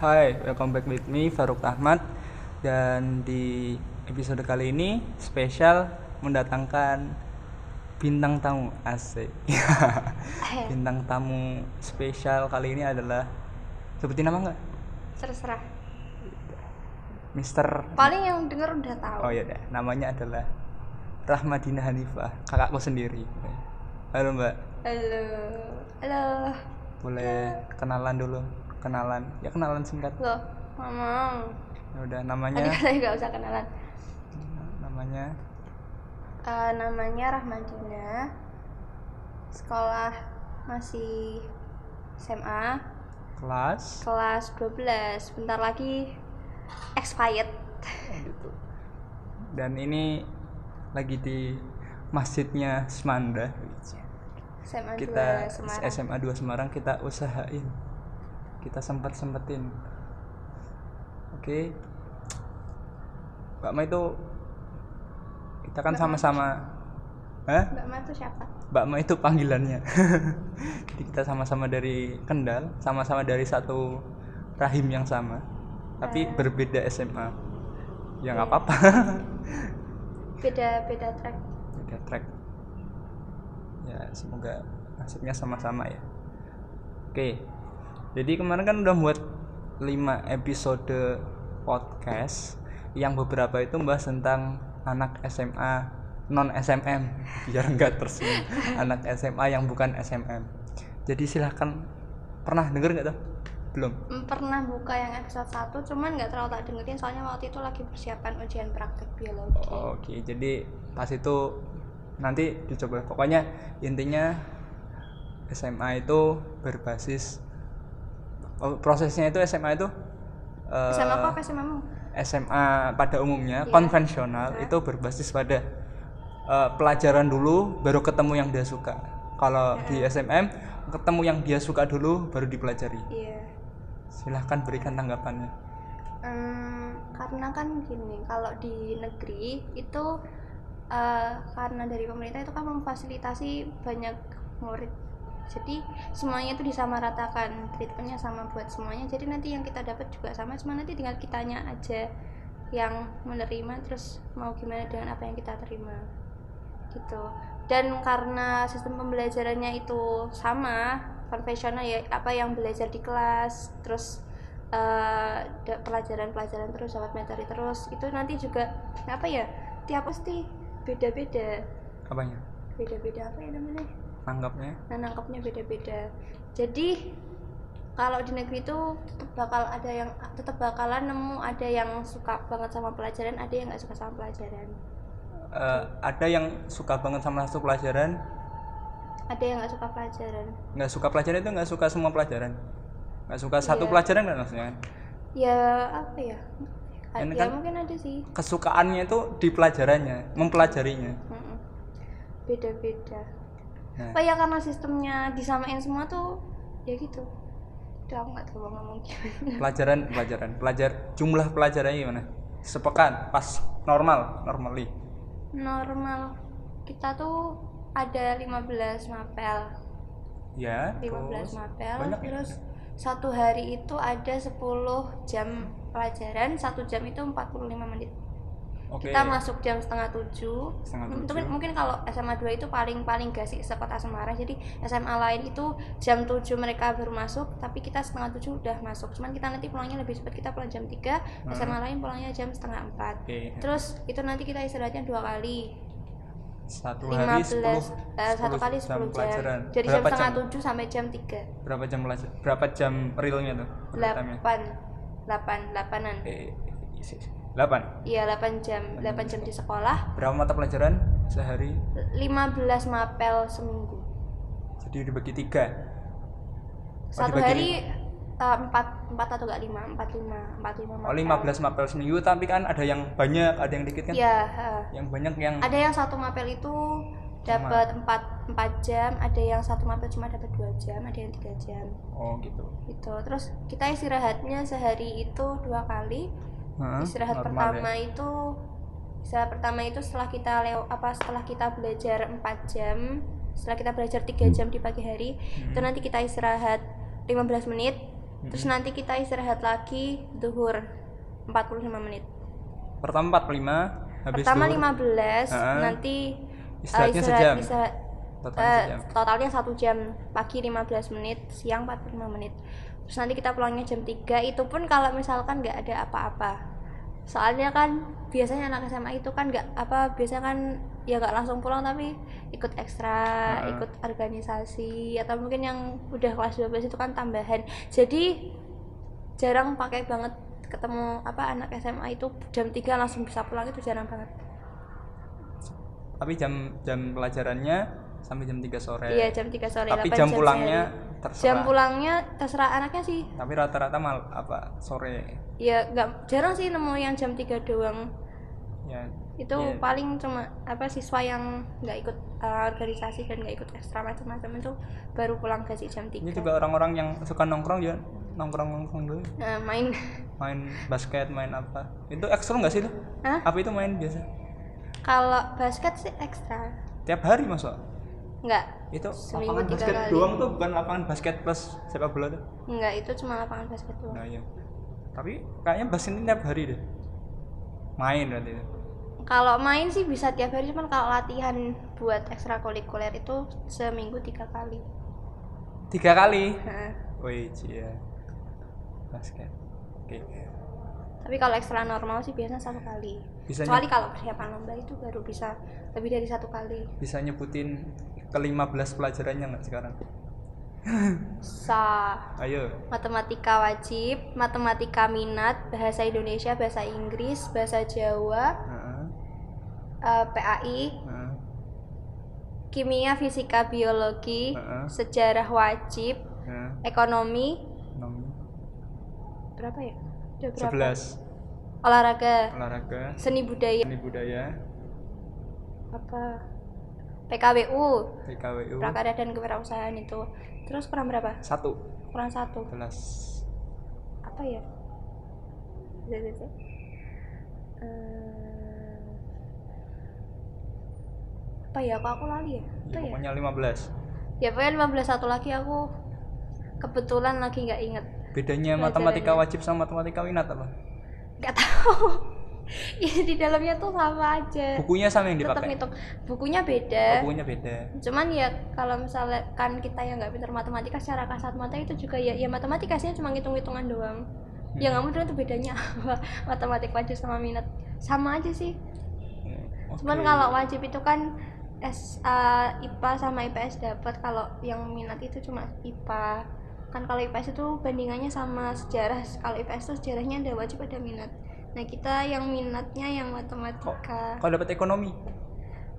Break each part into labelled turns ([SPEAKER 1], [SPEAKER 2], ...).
[SPEAKER 1] Hai, welcome back with me Faruk Ahmad dan di episode kali ini spesial mendatangkan bintang tamu asik. bintang tamu spesial kali ini adalah sebutin nama nggak?
[SPEAKER 2] terserah
[SPEAKER 1] Mister
[SPEAKER 2] paling yang denger udah tahu
[SPEAKER 1] Oh ya deh, namanya adalah Rahmadina Hanifah, kakakku sendiri. Halo Mbak,
[SPEAKER 2] halo halo
[SPEAKER 1] boleh kenalan dulu? Kenalan, ya kenalan singkat.
[SPEAKER 2] loh ngomong
[SPEAKER 1] Ya udah namanya
[SPEAKER 2] tadi katanya nggak usah kenalan
[SPEAKER 1] namanya
[SPEAKER 2] Eh, namanya Rahmadina sekolah masih SMA
[SPEAKER 1] kelas
[SPEAKER 2] kelas 12 bentar lagi expired
[SPEAKER 1] gitu. Dan ini lagi di masjidnya Semanda.
[SPEAKER 2] SMA
[SPEAKER 1] Kita
[SPEAKER 2] 2 Semarang
[SPEAKER 1] SMA 2 Semarang kita usahain. Kita sempat-sempetin. Oke. Mbak Ma itu kita kan
[SPEAKER 2] Mbak Ma.
[SPEAKER 1] sama-sama Hah?
[SPEAKER 2] Mbak Ma tuh siapa?
[SPEAKER 1] Mbak Ma itu panggilannya. Jadi kita sama-sama dari Kendal, sama-sama dari satu rahim yang sama, tapi
[SPEAKER 2] Eh.
[SPEAKER 1] berbeda SMA. Ya nggak
[SPEAKER 2] Iya.
[SPEAKER 1] apa-apa.
[SPEAKER 2] Beda beda track.
[SPEAKER 1] Beda track. Ya semoga nasibnya sama-sama ya. Oke. Jadi kemarin kan udah buat 5 episode podcast yang beberapa itu membahas tentang anak SMA non SMM biar nggak tersinggung anak SMA yang bukan SMM. Jadi silahkan pernah denger nggak tuh? Belum.
[SPEAKER 2] Mm, Pernah buka yang episode 1 cuman nggak terlalu tak dengerin soalnya waktu itu lagi persiapan ujian praktek biologi.
[SPEAKER 1] Oh, Oke, jadi pas itu nanti dicoba. Pokoknya intinya SMA itu berbasis oh, prosesnya itu SMA itu eh,
[SPEAKER 2] SMA kok kasih mamu?
[SPEAKER 1] SMA pada umumnya
[SPEAKER 2] Iya.
[SPEAKER 1] konvensional
[SPEAKER 2] Hah?
[SPEAKER 1] itu berbasis pada eh, pelajaran dulu baru ketemu yang dia suka. Kalau
[SPEAKER 2] Iya.
[SPEAKER 1] di SMM ketemu yang dia suka dulu baru dipelajari.
[SPEAKER 2] Iya.
[SPEAKER 1] Silahkan berikan tanggapannya.
[SPEAKER 2] Em, karena kan gini, kalau di negeri itu eh, karena dari pemerintah itu kan memfasilitasi banyak murid. Jadi semuanya itu disamaratakan, treatmentnya sama buat semuanya. Jadi nanti yang kita dapat juga sama, cuma nanti tinggal kitanya aja yang menerima terus mau gimana dengan apa yang kita terima. Gitu. Dan karena sistem pembelajarannya itu sama, konvensional ya apa yang belajar di kelas, terus eh, da- pelajaran-pelajaran terus dapat materi terus itu nanti juga apa ya tiap pasti beda-beda
[SPEAKER 1] Apanya?
[SPEAKER 2] beda-beda apa ya namanya
[SPEAKER 1] Tanggapnya?
[SPEAKER 2] nah nangkepnya beda-beda jadi kalau di negeri itu tetap bakal ada yang tetap bakalan nemu ada yang suka banget sama pelajaran ada yang nggak suka sama pelajaran
[SPEAKER 1] Eh, ada yang suka banget sama satu pelajaran,
[SPEAKER 2] ada yang nggak suka pelajaran
[SPEAKER 1] nggak suka pelajaran itu nggak suka semua pelajaran nggak suka satu
[SPEAKER 2] Iya.
[SPEAKER 1] pelajaran kan maksudnya kan?
[SPEAKER 2] ya apa ya Ah,
[SPEAKER 1] Ini
[SPEAKER 2] ya
[SPEAKER 1] kan-
[SPEAKER 2] mungkin ada sih
[SPEAKER 1] kesukaannya itu di pelajarannya mempelajarinya
[SPEAKER 2] Mm-mm. beda-beda
[SPEAKER 1] nah,
[SPEAKER 2] apa ya karena sistemnya disamain semua tuh ya gitu udah aku nggak tahu mau ngomong gimana
[SPEAKER 1] pelajaran pelajaran pelajar jumlah pelajarannya gimana sepekan pas normal normally
[SPEAKER 2] normal kita tuh ada 15 mapel
[SPEAKER 1] ya
[SPEAKER 2] 15
[SPEAKER 1] Nah, terus
[SPEAKER 2] mapel
[SPEAKER 1] banyak ya?
[SPEAKER 2] terus satu hari itu ada 10 jam pelajaran satu jam itu 45 menit
[SPEAKER 1] oke
[SPEAKER 2] kita masuk jam setengah tujuh
[SPEAKER 1] Setengah
[SPEAKER 2] M-
[SPEAKER 1] tujuh.
[SPEAKER 2] mungkin, mungkin kalau SMA 2 itu paling paling gak sih sekota Semarang jadi SMA lain itu jam 7 mereka baru masuk tapi kita setengah tujuh udah masuk cuman kita nanti pulangnya lebih cepat kita pulang jam 3
[SPEAKER 1] Hmm. Iya.
[SPEAKER 2] SMA lain pulangnya jam setengah 4
[SPEAKER 1] oke
[SPEAKER 2] terus itu nanti kita istirahatnya dua kali
[SPEAKER 1] satu hari
[SPEAKER 2] 15
[SPEAKER 1] sepuluh
[SPEAKER 2] eh, satu kali 10
[SPEAKER 1] jam,
[SPEAKER 2] jam,
[SPEAKER 1] pelajaran
[SPEAKER 2] jadi jam
[SPEAKER 1] berapa
[SPEAKER 2] setengah
[SPEAKER 1] jam
[SPEAKER 2] tujuh sampai jam 3
[SPEAKER 1] berapa jam belajar berapa jam ya? realnya tuh real time-nya?
[SPEAKER 2] 8 8 8an
[SPEAKER 1] eh, isi- isi. delapan
[SPEAKER 2] iya 8 jam 8 jam di sekolah
[SPEAKER 1] berapa mata pelajaran sehari
[SPEAKER 2] 15 mapel seminggu
[SPEAKER 1] jadi dibagi tiga
[SPEAKER 2] satu
[SPEAKER 1] dibagi
[SPEAKER 2] hari eh, empat empat atau gak lima empat lima empat lima
[SPEAKER 1] Oh,
[SPEAKER 2] mapel.
[SPEAKER 1] 15 mapel seminggu tapi kan ada yang banyak, ada yang dikit kan?
[SPEAKER 2] Iya, heeh.
[SPEAKER 1] Yang banyak yang
[SPEAKER 2] ada yang satu mapel itu dapat empat empat jam ada yang satu mapel cuma dapat dua jam ada yang tiga jam
[SPEAKER 1] oh gitu.
[SPEAKER 2] gitu terus kita istirahatnya sehari itu dua kali
[SPEAKER 1] Heeh,
[SPEAKER 2] istirahat
[SPEAKER 1] normal
[SPEAKER 2] pertama
[SPEAKER 1] ya.
[SPEAKER 2] itu istirahat pertama itu setelah kita lew apa setelah kita belajar 4 jam
[SPEAKER 1] Hmm.
[SPEAKER 2] setelah kita belajar 3 jam di pagi hari itu nanti kita istirahat 15 menit terus
[SPEAKER 1] Hmm.
[SPEAKER 2] nanti kita istirahat lagi zuhur 45 menit
[SPEAKER 1] Pertama 45, habis
[SPEAKER 2] pertama
[SPEAKER 1] zuhur,
[SPEAKER 2] 15
[SPEAKER 1] Ah.
[SPEAKER 2] nanti eh,
[SPEAKER 1] Istirahatnya sejam.
[SPEAKER 2] istirahat-
[SPEAKER 1] total
[SPEAKER 2] eh,
[SPEAKER 1] sejam.
[SPEAKER 2] totalnya satu jam pagi 15 menit siang 45 menit terus nanti kita pulangnya jam 3 itu pun kalau misalkan nggak ada apa-apa soalnya kan biasanya anak SMA itu kan nggak apa biasanya kan ya nggak langsung pulang tapi ikut ekstra
[SPEAKER 1] Ah.
[SPEAKER 2] ikut organisasi atau mungkin yang udah kelas 12 itu kan tambahan jadi jarang pakai banget ketemu apa anak SMA itu jam 3 langsung bisa pulang itu jarang banget
[SPEAKER 1] Tapi jam jam pelajarannya sampai jam 3 sore.
[SPEAKER 2] iya jam 3 sore
[SPEAKER 1] Tapi
[SPEAKER 2] 8
[SPEAKER 1] jam
[SPEAKER 2] sehari.
[SPEAKER 1] pulangnya terserah.
[SPEAKER 2] jam pulangnya terserah anaknya sih
[SPEAKER 1] Tapi rata-rata mal apa sore.
[SPEAKER 2] ya nggak jarang sih nemu yang jam 3 doang
[SPEAKER 1] Ya.
[SPEAKER 2] itu
[SPEAKER 1] Iya.
[SPEAKER 2] paling cuma apa siswa yang nggak ikut uh, organisasi dan nggak ikut ekstra macam-macam itu baru pulang kasih jam 3
[SPEAKER 1] Ini juga orang-orang yang suka nongkrong ya nongkrong-nongkrong dulu
[SPEAKER 2] Nah, main
[SPEAKER 1] main basket main apa itu ekstra nggak sih itu
[SPEAKER 2] Hah?
[SPEAKER 1] apa itu main biasa
[SPEAKER 2] kalau basket sih ekstra
[SPEAKER 1] tiap hari masuk
[SPEAKER 2] nggak
[SPEAKER 1] itu
[SPEAKER 2] Seminggu
[SPEAKER 1] lapangan
[SPEAKER 2] tiga
[SPEAKER 1] basket
[SPEAKER 2] kali.
[SPEAKER 1] doang tuh bukan lapangan basket plus sepak bola tuh
[SPEAKER 2] nggak itu cuma lapangan basket doang
[SPEAKER 1] nah iya tapi kayaknya basket ini tiap hari deh main berarti itu
[SPEAKER 2] Kalau main sih bisa tiap hari, cuman kalau latihan buat ekstrakurikuler itu seminggu tiga kali. Nah,
[SPEAKER 1] tiga kali
[SPEAKER 2] Heeh.
[SPEAKER 1] wih iya basket oke
[SPEAKER 2] Tapi kalau ekstra normal sih biasanya satu kali.
[SPEAKER 1] Bisa
[SPEAKER 2] Kecuali kalau persiapan lomba itu baru bisa lebih dari satu kali.
[SPEAKER 1] bisa nyebutin ke 15 pelajarannya nggak sekarang
[SPEAKER 2] Sa
[SPEAKER 1] ayo
[SPEAKER 2] matematika wajib, matematika minat, bahasa Indonesia, bahasa Inggris, bahasa Jawa,
[SPEAKER 1] Heeh,
[SPEAKER 2] eh, PAI,
[SPEAKER 1] heeh.
[SPEAKER 2] kimia, fisika, biologi,
[SPEAKER 1] Heeh.
[SPEAKER 2] sejarah wajib,
[SPEAKER 1] heeh.
[SPEAKER 2] ekonomi,
[SPEAKER 1] Nomor
[SPEAKER 2] berapa ya? Udah berapa?
[SPEAKER 1] 11
[SPEAKER 2] Olahraga,
[SPEAKER 1] olahraga
[SPEAKER 2] seni budaya.
[SPEAKER 1] seni budaya
[SPEAKER 2] apa PKWU
[SPEAKER 1] PKWU
[SPEAKER 2] prakarya dan kewirausahaan itu terus kurang berapa
[SPEAKER 1] satu
[SPEAKER 2] kurang satu
[SPEAKER 1] belas
[SPEAKER 2] apa ya Zek, zek, zek. Eh, apa ya kok aku lali ya apa
[SPEAKER 1] ya,
[SPEAKER 2] ya
[SPEAKER 1] pokoknya 15
[SPEAKER 2] ya pokoknya 15 satu lagi aku kebetulan lagi nggak inget
[SPEAKER 1] bedanya
[SPEAKER 2] Pelajarannya.
[SPEAKER 1] matematika wajib sama matematika minat apa
[SPEAKER 2] nggak tahu ya di dalamnya tuh sama aja
[SPEAKER 1] bukunya sama yang
[SPEAKER 2] tetap
[SPEAKER 1] dipakai
[SPEAKER 2] ngitung bukunya
[SPEAKER 1] Oh,
[SPEAKER 2] beda
[SPEAKER 1] bukunya beda
[SPEAKER 2] cuman ya kalau misalnya kan kita yang nggak pintar matematika secara kasat mata itu juga ya ya matematika sih cuma hitung-hitungan doang ya nggak mudah itu bedanya apa matematik wajib sama minat sama aja sih
[SPEAKER 1] Hmm, oke.
[SPEAKER 2] cuman kalau wajib itu kan S, eh, IPA sama IPS dapat kalau yang minat itu cuma IPA kan kalau IPS itu bandingannya sama sejarah kalau IPS itu sejarahnya ada wajib ada minat nah kita yang minatnya yang matematika
[SPEAKER 1] kalau dapat ekonomi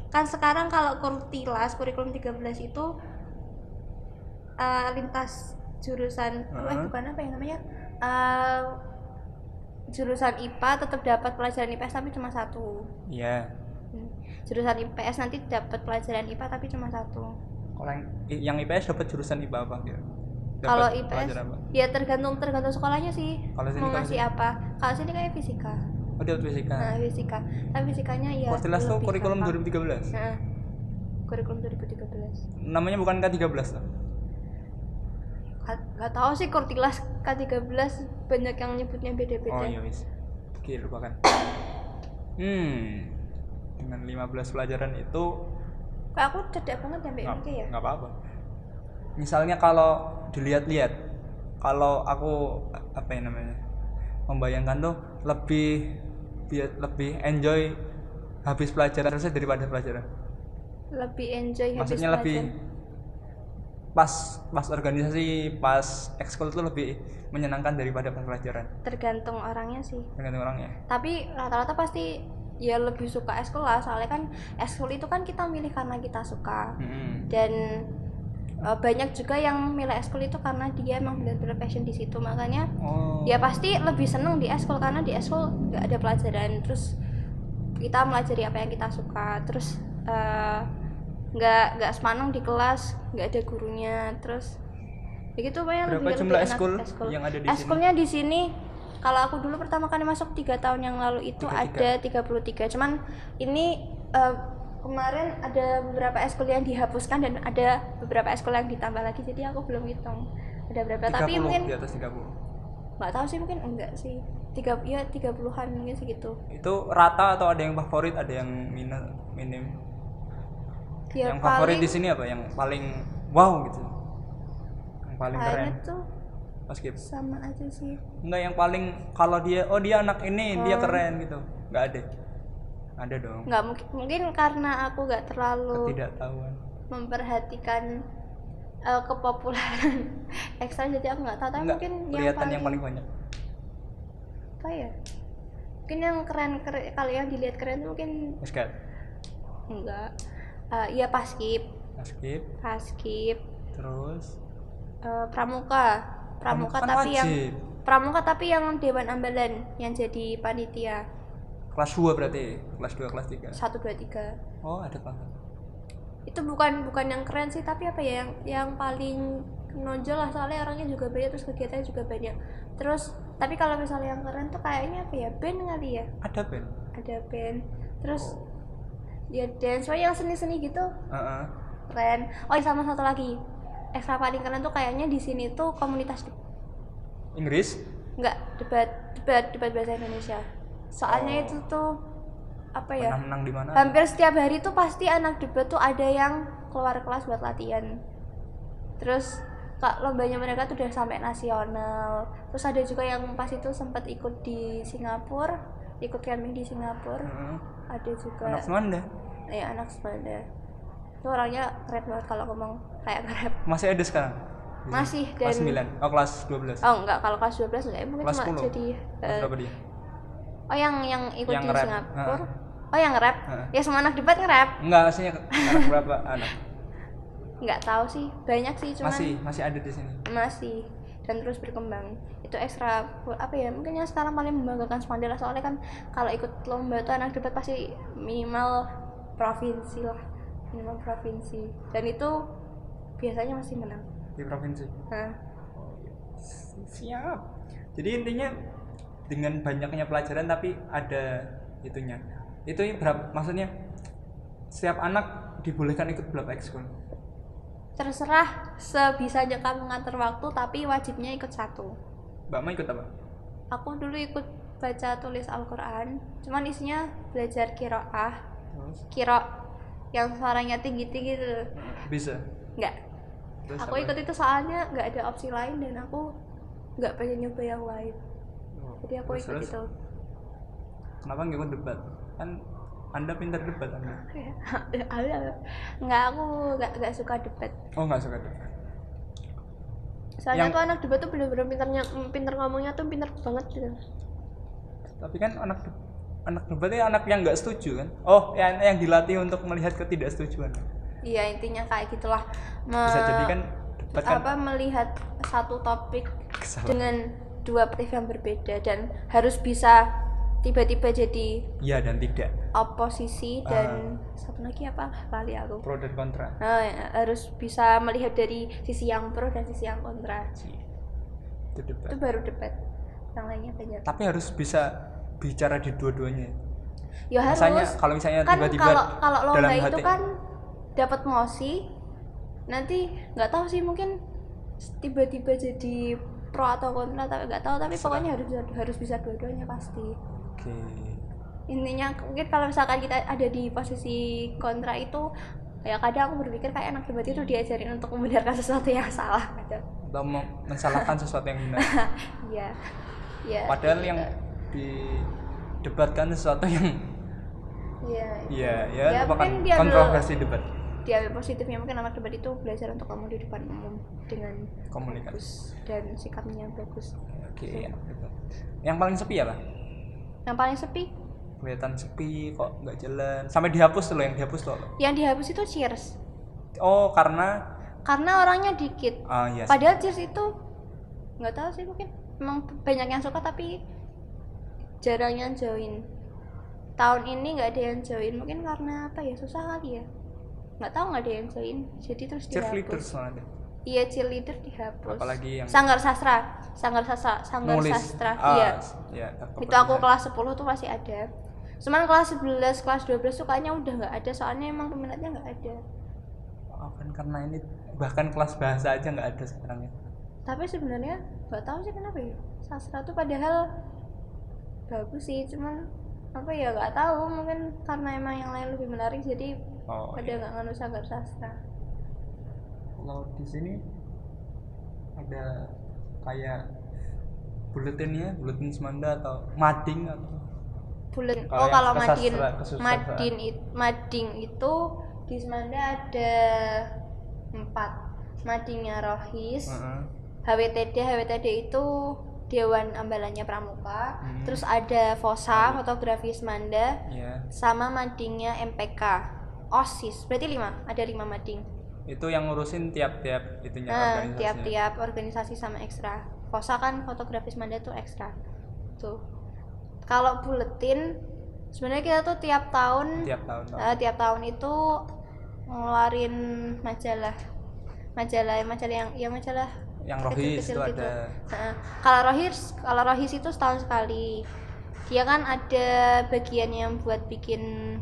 [SPEAKER 2] kan sekarang kalau kurtilas kurikulum 13 itu eh, lintas jurusan eh,
[SPEAKER 1] Heeh.
[SPEAKER 2] bukan apa yang namanya Eh, jurusan IPA tetap dapat pelajaran IPS tapi cuma satu
[SPEAKER 1] ya
[SPEAKER 2] Hmm. jurusan IPS nanti dapat pelajaran IPA tapi cuma satu
[SPEAKER 1] kalau yang, yang IPS dapat jurusan IPA apa gitu Dapat
[SPEAKER 2] kalau
[SPEAKER 1] pelajaran
[SPEAKER 2] IPS
[SPEAKER 1] apa?
[SPEAKER 2] ya tergantung tergantung sekolahnya sih
[SPEAKER 1] Kalau sini,
[SPEAKER 2] mau
[SPEAKER 1] kalau
[SPEAKER 2] ngasih
[SPEAKER 1] sini.
[SPEAKER 2] apa kalau sini kayak fisika
[SPEAKER 1] oh dapat fisika
[SPEAKER 2] nah fisika tapi fisikanya ya
[SPEAKER 1] Portilas tuh
[SPEAKER 2] lebih
[SPEAKER 1] kurikulum
[SPEAKER 2] gampang.
[SPEAKER 1] 2013
[SPEAKER 2] Nah, kurikulum 2013
[SPEAKER 1] namanya bukan K13 tuh
[SPEAKER 2] Ka- nggak tahu sih Kortilas K13 banyak yang nyebutnya
[SPEAKER 1] oh
[SPEAKER 2] beda-beda
[SPEAKER 1] iya wis oke lupakan hmm dengan 15 pelajaran itu
[SPEAKER 2] kayak aku cedak banget ya Mbak
[SPEAKER 1] nggak
[SPEAKER 2] Mika ya
[SPEAKER 1] nggak apa-apa misalnya kalau dilihat-lihat kalau aku apa ya namanya membayangkan tuh lebih biar lebih enjoy habis pelajaran selesai daripada pelajaran
[SPEAKER 2] lebih enjoy habis
[SPEAKER 1] maksudnya lebih
[SPEAKER 2] pelajaran.
[SPEAKER 1] pas pas organisasi pas ekskul itu lebih menyenangkan daripada pas pelajaran
[SPEAKER 2] tergantung orangnya sih
[SPEAKER 1] tergantung orangnya
[SPEAKER 2] tapi rata-rata pasti ya lebih suka eskul lah soalnya kan eskul itu kan kita milih karena kita suka
[SPEAKER 1] Mm-mm.
[SPEAKER 2] dan eh, banyak juga yang milih eskul itu karena dia emang benar-benar passion di situ makanya
[SPEAKER 1] oh
[SPEAKER 2] ya pasti lebih seneng di eskul karena di eskul nggak ada pelajaran terus kita melajari apa yang kita suka terus eh, nggak nggak semaneng di kelas nggak ada gurunya terus ya gitu, begitu banyak
[SPEAKER 1] Berapa jumlah eskul yang ada di sini?
[SPEAKER 2] eskulnya di sini kalau aku dulu pertama kali masuk tiga tahun yang lalu itu ada 33 cuman ini eh, kemarin ada beberapa eskul yang dihapuskan dan ada beberapa eskul yang ditambah lagi jadi aku belum hitung udah berapa
[SPEAKER 1] 30,
[SPEAKER 2] tapi mungkin
[SPEAKER 1] di atas 30
[SPEAKER 2] nggak tahu sih mungkin enggak sih tiga ya tiga puluhan mungkin gitu. segitu
[SPEAKER 1] itu rata atau ada yang favorit ada yang minus minim
[SPEAKER 2] dia
[SPEAKER 1] yang favorit
[SPEAKER 2] Ya, paling
[SPEAKER 1] di sini apa yang paling wow gitu yang paling keren
[SPEAKER 2] kayaknya tuh
[SPEAKER 1] meskipun
[SPEAKER 2] sama aja sih
[SPEAKER 1] enggak yang paling kalau dia oh dia anak ini dia keren gitu nggak ada ada dong
[SPEAKER 2] nggak mungkin mungkin karena aku nggak terlalu
[SPEAKER 1] ketidaktahuan
[SPEAKER 2] memperhatikan eh, kepopuleran ekstra jadi aku nggak tahu tapi
[SPEAKER 1] enggak
[SPEAKER 2] mungkin yang
[SPEAKER 1] kelihatan
[SPEAKER 2] paling,
[SPEAKER 1] yang paling banyak
[SPEAKER 2] apa ya mungkin yang keren, keren kalau yang dilihat keren tuh mungkin
[SPEAKER 1] basket
[SPEAKER 2] enggak Eh, ya paskip
[SPEAKER 1] basket
[SPEAKER 2] paskip
[SPEAKER 1] Nah, terus
[SPEAKER 2] eh, pramuka pramuka
[SPEAKER 1] kan
[SPEAKER 2] tapi yang
[SPEAKER 1] wajib.
[SPEAKER 2] pramuka tapi yang dewan ambalan yang jadi panitia
[SPEAKER 1] kelas 2 berarti kelas 2 kelas
[SPEAKER 2] 1
[SPEAKER 1] 3
[SPEAKER 2] 2 3
[SPEAKER 1] oh ada banget
[SPEAKER 2] itu bukan bukan yang keren sih tapi apa ya yang yang paling menonjol lah soalnya orangnya juga banyak terus kegiatannya juga banyak terus tapi kalau misalnya yang keren tuh kayaknya apa ya band kali ya
[SPEAKER 1] ada Ben
[SPEAKER 2] ada band terus ya dance pokoknya yang seni-seni gitu
[SPEAKER 1] Heeh.
[SPEAKER 2] keren oh sama satu lagi ekstra paling keren tuh kayaknya di sini tuh komunitas de-
[SPEAKER 1] Inggris
[SPEAKER 2] nggak debat debat debat bahasa Indonesia soalnya
[SPEAKER 1] Oh.
[SPEAKER 2] itu tuh apa ya
[SPEAKER 1] pernah menang di mana
[SPEAKER 2] hampir setiap hari tuh pasti anak debat tuh ada yang keluar kelas buat latihan terus kak lombanya mereka tuh udah sampai nasional terus ada juga yang pas itu sempat ikut di Singapura ikut camping di Singapura
[SPEAKER 1] Heeh.
[SPEAKER 2] ada juga
[SPEAKER 1] anak Semanda
[SPEAKER 2] ya anak Sunda itu orangnya keren banget kalau ngomong kayak nge-rap
[SPEAKER 1] masih ada sekarang
[SPEAKER 2] masih
[SPEAKER 1] kelas
[SPEAKER 2] dan
[SPEAKER 1] 9 oh kelas 12
[SPEAKER 2] oh enggak kalau kelas 12 enggak ya, mungkin
[SPEAKER 1] Kelas
[SPEAKER 2] cuma
[SPEAKER 1] 10.
[SPEAKER 2] jadi
[SPEAKER 1] kelas
[SPEAKER 2] eh,
[SPEAKER 1] berapa dia
[SPEAKER 2] oh yang yang ikut
[SPEAKER 1] Yang
[SPEAKER 2] di
[SPEAKER 1] nge-rap,
[SPEAKER 2] Singapura
[SPEAKER 1] heeh.
[SPEAKER 2] oh yang nge-rap
[SPEAKER 1] Heeh.
[SPEAKER 2] ya semua anak debat nge-rap
[SPEAKER 1] enggak maksudnya anak berapa anak
[SPEAKER 2] nggak tahu sih banyak sih cuman
[SPEAKER 1] masih masih ada di sini
[SPEAKER 2] masih dan terus berkembang itu ekstra apa ya mungkin yang sekarang paling membanggakan Spandai lah soalnya kan kalau ikut lomba tuh anak debat pasti minimal provinsi lah minimal provinsi dan itu biasanya masih menang
[SPEAKER 1] di provinsi
[SPEAKER 2] nah,
[SPEAKER 1] siap jadi intinya dengan banyaknya pelajaran tapi ada itunya itu berapa maksudnya setiap anak dibolehkan ikut berapa ekskul
[SPEAKER 2] terserah sebisanya kamu ngatur waktu tapi wajibnya ikut satu
[SPEAKER 1] mbak Ma ikut apa
[SPEAKER 2] aku dulu ikut baca tulis Al-Quran cuman isinya belajar kiroah
[SPEAKER 1] terus
[SPEAKER 2] kiro yang suaranya tinggi-tinggi tuh
[SPEAKER 1] bisa
[SPEAKER 2] nggak
[SPEAKER 1] terus
[SPEAKER 2] aku
[SPEAKER 1] apa?
[SPEAKER 2] ikut itu soalnya nggak ada opsi lain dan aku nggak pengen nyoba yang lain
[SPEAKER 1] Oh,
[SPEAKER 2] jadi aku
[SPEAKER 1] terus-
[SPEAKER 2] ikut
[SPEAKER 1] terus
[SPEAKER 2] itu
[SPEAKER 1] kenapa nggak ikut debat kan anda pintar debat anda
[SPEAKER 2] nggak aku nggak nggak suka debat
[SPEAKER 1] oh nggak suka debat
[SPEAKER 2] soalnya
[SPEAKER 1] Yang-
[SPEAKER 2] tuh anak debat tuh bener-bener pinternya mm, pinter ngomongnya tuh pinter banget gitu
[SPEAKER 1] tapi kan anak de- anak debat ya anak yang nggak setuju kan oh yang yang dilatih untuk melihat ketidaksetujuan
[SPEAKER 2] iya intinya kayak gitulah Me-
[SPEAKER 1] bisa jadi kan debat kan
[SPEAKER 2] Eh, apa melihat satu topik
[SPEAKER 1] Kesalahan.
[SPEAKER 2] dengan dua perspektif yang berbeda dan harus bisa tiba-tiba jadi
[SPEAKER 1] iya dan tidak
[SPEAKER 2] oposisi dan
[SPEAKER 1] Ah.
[SPEAKER 2] satu lagi apa kali aku
[SPEAKER 1] pro dan kontra
[SPEAKER 2] Nah, ya, harus bisa melihat dari sisi yang pro dan sisi yang kontra.
[SPEAKER 1] Iya. itu
[SPEAKER 2] Itu
[SPEAKER 1] debat
[SPEAKER 2] baru debat. Yang lainnya banyak.
[SPEAKER 1] tapi harus bisa bicara di dua-duanya
[SPEAKER 2] Ya harus.
[SPEAKER 1] Misalnya, kalau misalnya
[SPEAKER 2] kan
[SPEAKER 1] tiba-tiba
[SPEAKER 2] kalau kalau lomba
[SPEAKER 1] dalam
[SPEAKER 2] itu
[SPEAKER 1] hati-
[SPEAKER 2] kan dapat mosi nanti nggak tahu sih mungkin tiba-tiba jadi pro atau kontra tapi nggak tahu tapi pokoknya harus bisa, harus bisa dua-duanya pasti
[SPEAKER 1] oke
[SPEAKER 2] intinya mungkin kalau misalkan kita ada di posisi kontra itu ya kadang aku berpikir kayak anak debat itu diajarin untuk membenarkan sesuatu yang salah gitu. kadang
[SPEAKER 1] atau mau mensalahkan sesuatu yang benar
[SPEAKER 2] Iya. Iya.
[SPEAKER 1] padahal
[SPEAKER 2] gitu.
[SPEAKER 1] yang didebatkan sesuatu yang
[SPEAKER 2] Iya.
[SPEAKER 1] ya
[SPEAKER 2] itu.
[SPEAKER 1] ya, merupakan
[SPEAKER 2] mungkin dia
[SPEAKER 1] kontroversi debat
[SPEAKER 2] Dia positifnya mungkin anak debat itu belajar untuk kamu di depan umum dengan
[SPEAKER 1] komunikasi
[SPEAKER 2] bagus dan sikapnya yang bagus.
[SPEAKER 1] oke anak debat yang paling sepi apa
[SPEAKER 2] Yang paling sepi
[SPEAKER 1] kelihatan sepi kok nggak jalan sampai dihapus tuh loh yang dihapus tuh loh.
[SPEAKER 2] yang dihapus itu cheers
[SPEAKER 1] oh karena
[SPEAKER 2] karena orangnya dikit.
[SPEAKER 1] ah iya sih.
[SPEAKER 2] Padahal cheers itu nggak tahu sih mungkin memang banyak yang suka tapi jarang yang join. Tahun ini nggak ada yang join mungkin karena apa ya susah kali ya. Nggak tahu nggak ada yang join jadi terus dihapus.
[SPEAKER 1] cheerleaders malah ada
[SPEAKER 2] Iya cheerleader dihapus.
[SPEAKER 1] Apalagi yang-
[SPEAKER 2] Sanggar sastra, sanggar sastra, sanggar
[SPEAKER 1] nulis
[SPEAKER 2] sastra.
[SPEAKER 1] Ah,
[SPEAKER 2] iya.
[SPEAKER 1] iya, aku
[SPEAKER 2] Itu aku
[SPEAKER 1] pernah.
[SPEAKER 2] kelas 10 tuh masih ada. Cuman kelas 11, kelas 12 tuh kayaknya udah nggak ada soalnya emang peminatnya nggak ada.
[SPEAKER 1] Oh, kan karena ini bahkan kelas bahasa aja nggak ada sekarang ya
[SPEAKER 2] tapi sebenarnya nggak tahu sih kenapa ya sastra tuh padahal bagus sih cuman apa ya nggak tahu mungkin karena emang yang lain lebih menarik jadi
[SPEAKER 1] oh
[SPEAKER 2] pada
[SPEAKER 1] iya.
[SPEAKER 2] nggak nganu sanggar sastra
[SPEAKER 1] kalau di sini ada kayak buletinnya buletin semanda atau mading atau
[SPEAKER 2] bulan
[SPEAKER 1] Kalau
[SPEAKER 2] oh
[SPEAKER 1] yang
[SPEAKER 2] kalau
[SPEAKER 1] kesastra-
[SPEAKER 2] madin
[SPEAKER 1] kesusastraan.
[SPEAKER 2] madin it- mading itu di semanda ada empat madingnya rohis
[SPEAKER 1] Heeh.
[SPEAKER 2] HWTD HWTD itu Dewan Ambalannya Pramuka
[SPEAKER 1] Hmm.
[SPEAKER 2] terus ada Fosa fotografi Semanda
[SPEAKER 1] ya
[SPEAKER 2] sama madingnya MPK OSIS berarti lima ada lima mading
[SPEAKER 1] itu yang ngurusin tiap-tiap itunya
[SPEAKER 2] nah
[SPEAKER 1] organisasinya.
[SPEAKER 2] tiap-tiap organisasi sama ekstra Fosa kan fotografi Semanda tuh ekstra tuh kalau buletin sebenarnya kita tuh tiap tahun
[SPEAKER 1] tiap tahun tahun.
[SPEAKER 2] Eh, tiap tahun itu ngeluarin majalah majalah majalah yang ya majalah
[SPEAKER 1] yang rohis itu
[SPEAKER 2] kecil-kecil gitu.
[SPEAKER 1] ada
[SPEAKER 2] Heeh. kalau rohis kalau rohis itu setahun sekali dia kan ada bagian yang buat bikin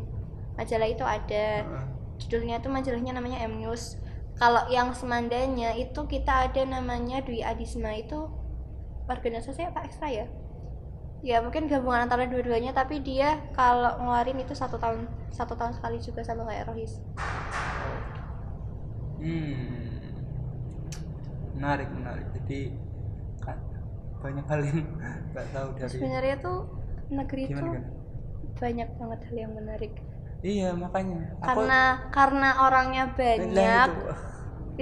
[SPEAKER 2] majalah itu ada
[SPEAKER 1] Heeh.
[SPEAKER 2] judulnya tuh majalahnya namanya M News kalau yang semandanya itu kita ada namanya Dwi Adisma itu organisasi apa ekstra ya ya mungkin gabungan antara dua-duanya tapi dia kalau ngeluarin itu satu tahun satu tahun sekali juga sama kayak Rohis
[SPEAKER 1] Hmm. Menarik, menarik. Jadi kan, banyak hal yang nggak tahu dari
[SPEAKER 2] sebenarnya tuh negeri
[SPEAKER 1] gimana,
[SPEAKER 2] tuh
[SPEAKER 1] gimana.
[SPEAKER 2] banyak banget hal yang menarik
[SPEAKER 1] Iya, makanya. Aku-
[SPEAKER 2] karena karena orangnya
[SPEAKER 1] Nah,
[SPEAKER 2] banyak
[SPEAKER 1] itu.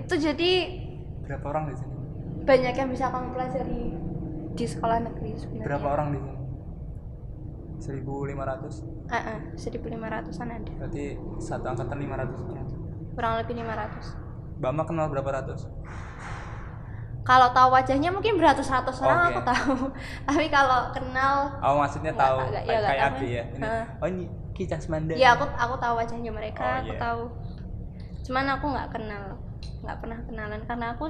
[SPEAKER 2] itu jadi
[SPEAKER 1] Berapa orang di sini?
[SPEAKER 2] banyak yang bisa kamu pelajari di sekolah negeri sebenarnya
[SPEAKER 1] Berapa orang di sini? 1500
[SPEAKER 2] Ah, ah, 1500-an ada
[SPEAKER 1] berarti satu angkatan 500 orang.
[SPEAKER 2] kurang lebih 500
[SPEAKER 1] Mbak Ma kenal berapa ratus?
[SPEAKER 2] kalau tahu wajahnya mungkin beratus-ratus orang
[SPEAKER 1] Oke.
[SPEAKER 2] aku tahu tapi kalau kenal
[SPEAKER 1] Oh maksudnya
[SPEAKER 2] Nggak,
[SPEAKER 1] tahu
[SPEAKER 2] nggak, ya,
[SPEAKER 1] kayak
[SPEAKER 2] nggak
[SPEAKER 1] kayak
[SPEAKER 2] tahu
[SPEAKER 1] Abi
[SPEAKER 2] ya.
[SPEAKER 1] ya. Ini,
[SPEAKER 2] Heeh.
[SPEAKER 1] oh ini Ki Casmanda.
[SPEAKER 2] ya aku aku tahu wajahnya mereka
[SPEAKER 1] Oh,
[SPEAKER 2] aku
[SPEAKER 1] iya.
[SPEAKER 2] tahu cuman aku nggak kenal nggak pernah kenalan karena aku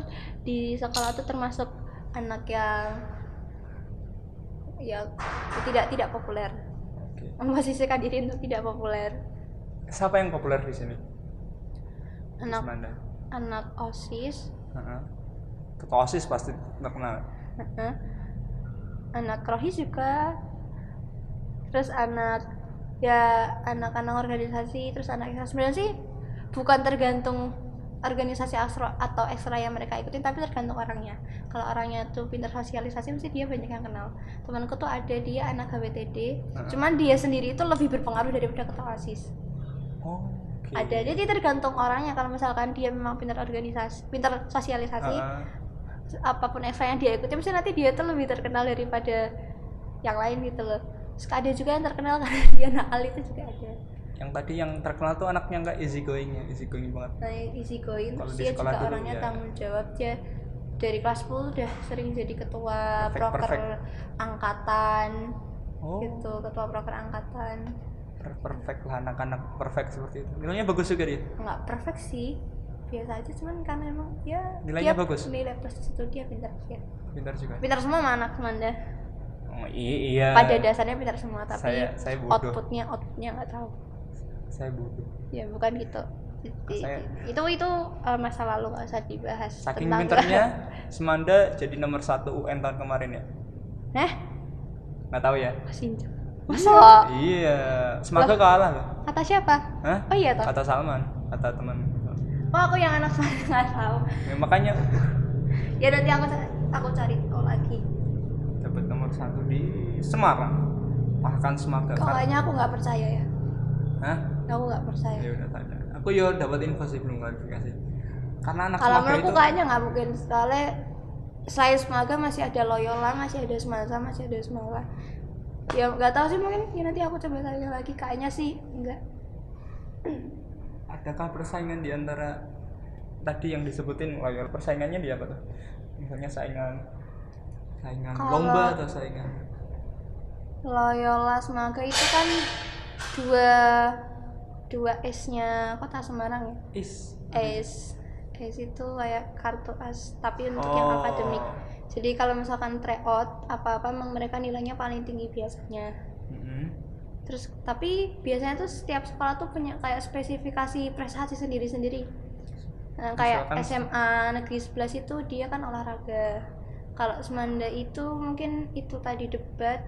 [SPEAKER 2] di sekolah tuh termasuk anak yang ya tidak tidak populer
[SPEAKER 1] Oke.
[SPEAKER 2] memposisikan diri untuk tidak populer
[SPEAKER 1] Siapa yang populer di sini? Ki
[SPEAKER 2] anak
[SPEAKER 1] Casmanda.
[SPEAKER 2] anak osis
[SPEAKER 1] Heeh. Ketua OSIS pasti terkenal.
[SPEAKER 2] heeh. anak rohis juga terus anak ya anak-anak organisasi terus anak ekstra sebenarnya sih bukan tergantung organisasi asro atau ekstra yang mereka ikutin tapi tergantung orangnya kalau orangnya tuh pintar sosialisasi mesti dia banyak yang kenal temanku tuh ada dia anak HWTD
[SPEAKER 1] Heeh.
[SPEAKER 2] cuman dia sendiri itu lebih berpengaruh daripada ketua osis
[SPEAKER 1] Oh, oke.
[SPEAKER 2] ada jadi tergantung orangnya kalau misalkan dia memang pintar organisasi pintar sosialisasi
[SPEAKER 1] Heeh.
[SPEAKER 2] apapun ekstra yang dia ikuti mesti nanti dia tuh lebih terkenal daripada yang lain gitu loh terus ada juga yang terkenal karena dia nakal itu juga ada
[SPEAKER 1] yang tadi yang terkenal tuh anaknya nggak easy going ya, easy going banget.
[SPEAKER 2] nah yang easy going
[SPEAKER 1] Kalau
[SPEAKER 2] terus
[SPEAKER 1] di
[SPEAKER 2] dia
[SPEAKER 1] sekolah
[SPEAKER 2] juga
[SPEAKER 1] dulu,
[SPEAKER 2] orangnya
[SPEAKER 1] ya.
[SPEAKER 2] tanggung jawab dia dari kelas 10 udah sering jadi ketua
[SPEAKER 1] Perfect,
[SPEAKER 2] proker
[SPEAKER 1] perfect.
[SPEAKER 2] angkatan
[SPEAKER 1] Oh,
[SPEAKER 2] gitu ketua proker angkatan
[SPEAKER 1] per- perfect lah anak-anak perfect seperti itu. Nilainya bagus juga dia.
[SPEAKER 2] nggak perfect sih biasa aja cuman karena emang dia
[SPEAKER 1] Nilainya
[SPEAKER 2] dia
[SPEAKER 1] bagus?
[SPEAKER 2] nilai plus di situ dia pintar dia
[SPEAKER 1] Pintar juga.
[SPEAKER 2] pintar semua sama anak semanda
[SPEAKER 1] Oh, i- iya.
[SPEAKER 2] pada dasarnya pintar semua tapi
[SPEAKER 1] Saya- saya bodoh.
[SPEAKER 2] outputnya outputnya nggak tahu
[SPEAKER 1] Saya bodoh.
[SPEAKER 2] ya bukan gitu Jadi,
[SPEAKER 1] Saya-
[SPEAKER 2] itu itu uh, masa lalu nggak usah dibahas
[SPEAKER 1] Saking
[SPEAKER 2] Tentang-
[SPEAKER 1] pintarnya, Semanda jadi nomor satu UN tahun kemarin ya.
[SPEAKER 2] eh
[SPEAKER 1] Nggak tahu ya.
[SPEAKER 2] masih injek. masa
[SPEAKER 1] Iya. Semangka kalah loh.
[SPEAKER 2] kata siapa
[SPEAKER 1] Hah?
[SPEAKER 2] oh iya toh
[SPEAKER 1] Kata Salman, kata teman.
[SPEAKER 2] oh aku yang anak saya nggak tahu
[SPEAKER 1] Ya, makanya
[SPEAKER 2] ya nanti aku aku cari tahu lagi
[SPEAKER 1] dapat nomor satu di Semarang. Bahkan Semangka. Kar-
[SPEAKER 2] kayaknya aku nggak percaya ya
[SPEAKER 1] Hah?
[SPEAKER 2] aku nggak percaya
[SPEAKER 1] Ya udah tanya. Aku yo dapat info sih belum klarifikasi. Karena anak
[SPEAKER 2] kalau
[SPEAKER 1] Semangka
[SPEAKER 2] menurutku
[SPEAKER 1] itu
[SPEAKER 2] kayaknya nggak mungkin soalnya selain Semaga masih ada Loyola masih ada Semasa masih ada Semala ya nggak tahu sih mungkin ya nanti aku coba tanya lagi kayaknya sih enggak
[SPEAKER 1] adakah persaingan di antara tadi yang disebutin loyal persaingannya di apa tuh? Misalnya saingan saingan
[SPEAKER 2] Kalau-
[SPEAKER 1] lomba atau saingan
[SPEAKER 2] Loyola Semaga itu kan dua dua S-nya kota Semarang ya.
[SPEAKER 1] is
[SPEAKER 2] S S itu kayak kartu as tapi untuk yang
[SPEAKER 1] Oh.
[SPEAKER 2] akademik. Jadi kalau misalkan tryout apa-apa emang mereka nilainya paling tinggi biasanya.
[SPEAKER 1] Mm-mm.
[SPEAKER 2] Terus tapi biasanya tuh setiap sekolah tuh punya kayak spesifikasi prestasi sendiri-sendiri. Nah, kayak
[SPEAKER 1] Misalkan-
[SPEAKER 2] SMA negeri 11 itu dia kan olahraga. Kalau Semanda itu mungkin itu tadi debat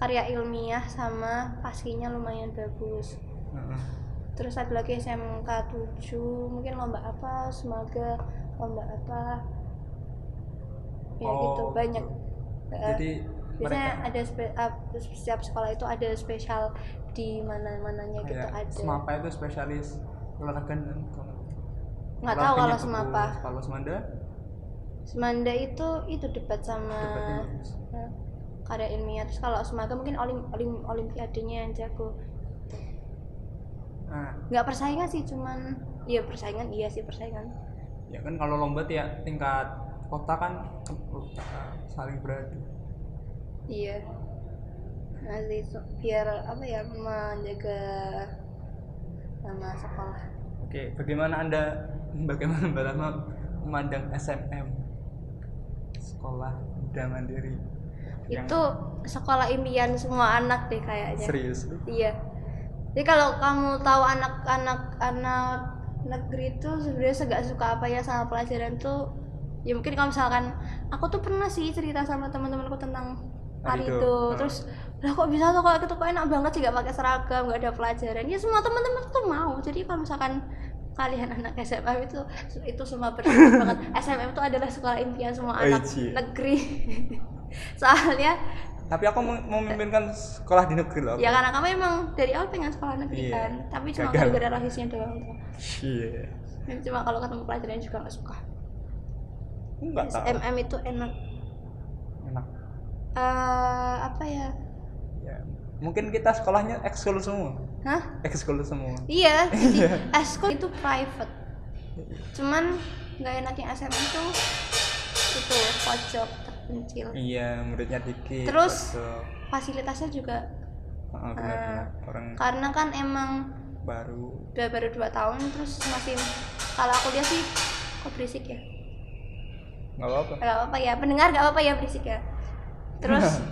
[SPEAKER 2] karya ilmiah sama paskinya lumayan bagus.
[SPEAKER 1] Heeh.
[SPEAKER 2] Terus ada lagi SMK 7 mungkin lomba apa, semaga lomba apa. Ya gitu
[SPEAKER 1] Oh,
[SPEAKER 2] banyak. Eh,
[SPEAKER 1] jadi
[SPEAKER 2] biasanya
[SPEAKER 1] mereka
[SPEAKER 2] ada spe- ap- setiap sekolah itu ada spesial di mana-mananya gitu
[SPEAKER 1] kayak
[SPEAKER 2] ada
[SPEAKER 1] ya, semapa itu spesialis olahraga dan
[SPEAKER 2] nggak tahu kalau
[SPEAKER 1] olahraganya bagus.
[SPEAKER 2] semapa Eh.
[SPEAKER 1] kalau semanda
[SPEAKER 2] semanda itu itu debat sama
[SPEAKER 1] debatnya bagus
[SPEAKER 2] eh, karya ilmiah terus kalau semaga mungkin olim, olim olimpiadenya yang jago
[SPEAKER 1] nah
[SPEAKER 2] nggak persaingan sih cuman ya persaingan iya sih persaingan
[SPEAKER 1] ya kan kalau lomba ya tingkat kota kan ke- eh, saling beradu
[SPEAKER 2] iya nah sih, so- biar apa ya menjaga nama sekolah
[SPEAKER 1] oke bagaimana anda bagaimana mbak Ratna memandang SMM sekolah muda mandiri yang
[SPEAKER 2] itu sekolah impian semua anak deh kayaknya
[SPEAKER 1] serius
[SPEAKER 2] Iya. Jadi kalau kamu tahu anak-anak anak negeri itu sebenarnya segak suka apa ya sama pelajaran tuh ya mungkin kalau misalkan aku tuh pernah sih cerita sama teman-temanku tentang hari
[SPEAKER 1] Arido,
[SPEAKER 2] itu
[SPEAKER 1] ah.
[SPEAKER 2] terus lah kok bisa tuh kok itu kok enak banget sih gak pakai seragam gak ada pelajaran ya semua teman-teman tuh mau jadi kalau misalkan kalian anak SMM itu itu semua bersyukur banget SMM itu adalah sekolah impian semua anak
[SPEAKER 1] Eji.
[SPEAKER 2] negeri soalnya
[SPEAKER 1] tapi aku mem- memimpinkan sekolah di negeri loh aku.
[SPEAKER 2] Ya karena kamu emang dari awal pengen sekolah
[SPEAKER 1] Iya.
[SPEAKER 2] negeri kan, tapi cuma
[SPEAKER 1] Gagal.
[SPEAKER 2] gara-gara rahasianya doang tuh.
[SPEAKER 1] iya
[SPEAKER 2] Dan cuma kalau ketemu pelajaran juga nggak suka.
[SPEAKER 1] enggak tahu
[SPEAKER 2] SMM itu enak.
[SPEAKER 1] enak
[SPEAKER 2] eh apa ya?
[SPEAKER 1] ya mungkin kita sekolahnya ekskul semua
[SPEAKER 2] Hah?
[SPEAKER 1] ekskul semua
[SPEAKER 2] Iya. Jadi eskul itu private. Cuman nggak enaknya SMM itu itu ya, pojok terpencil.
[SPEAKER 1] iya muridnya dikit
[SPEAKER 2] Terus?
[SPEAKER 1] pojok.
[SPEAKER 2] Fasilitasnya juga
[SPEAKER 1] Heeh, benar,
[SPEAKER 2] Ah.
[SPEAKER 1] benar. orang
[SPEAKER 2] karena kan emang
[SPEAKER 1] baru
[SPEAKER 2] udah baru dua tahun terus masih kalau aku lihat sih kok berisik ya
[SPEAKER 1] nggak apa-apa
[SPEAKER 2] nggak apa-apa ya pendengar nggak apa-apa ya berisik ya terus
[SPEAKER 1] Iya.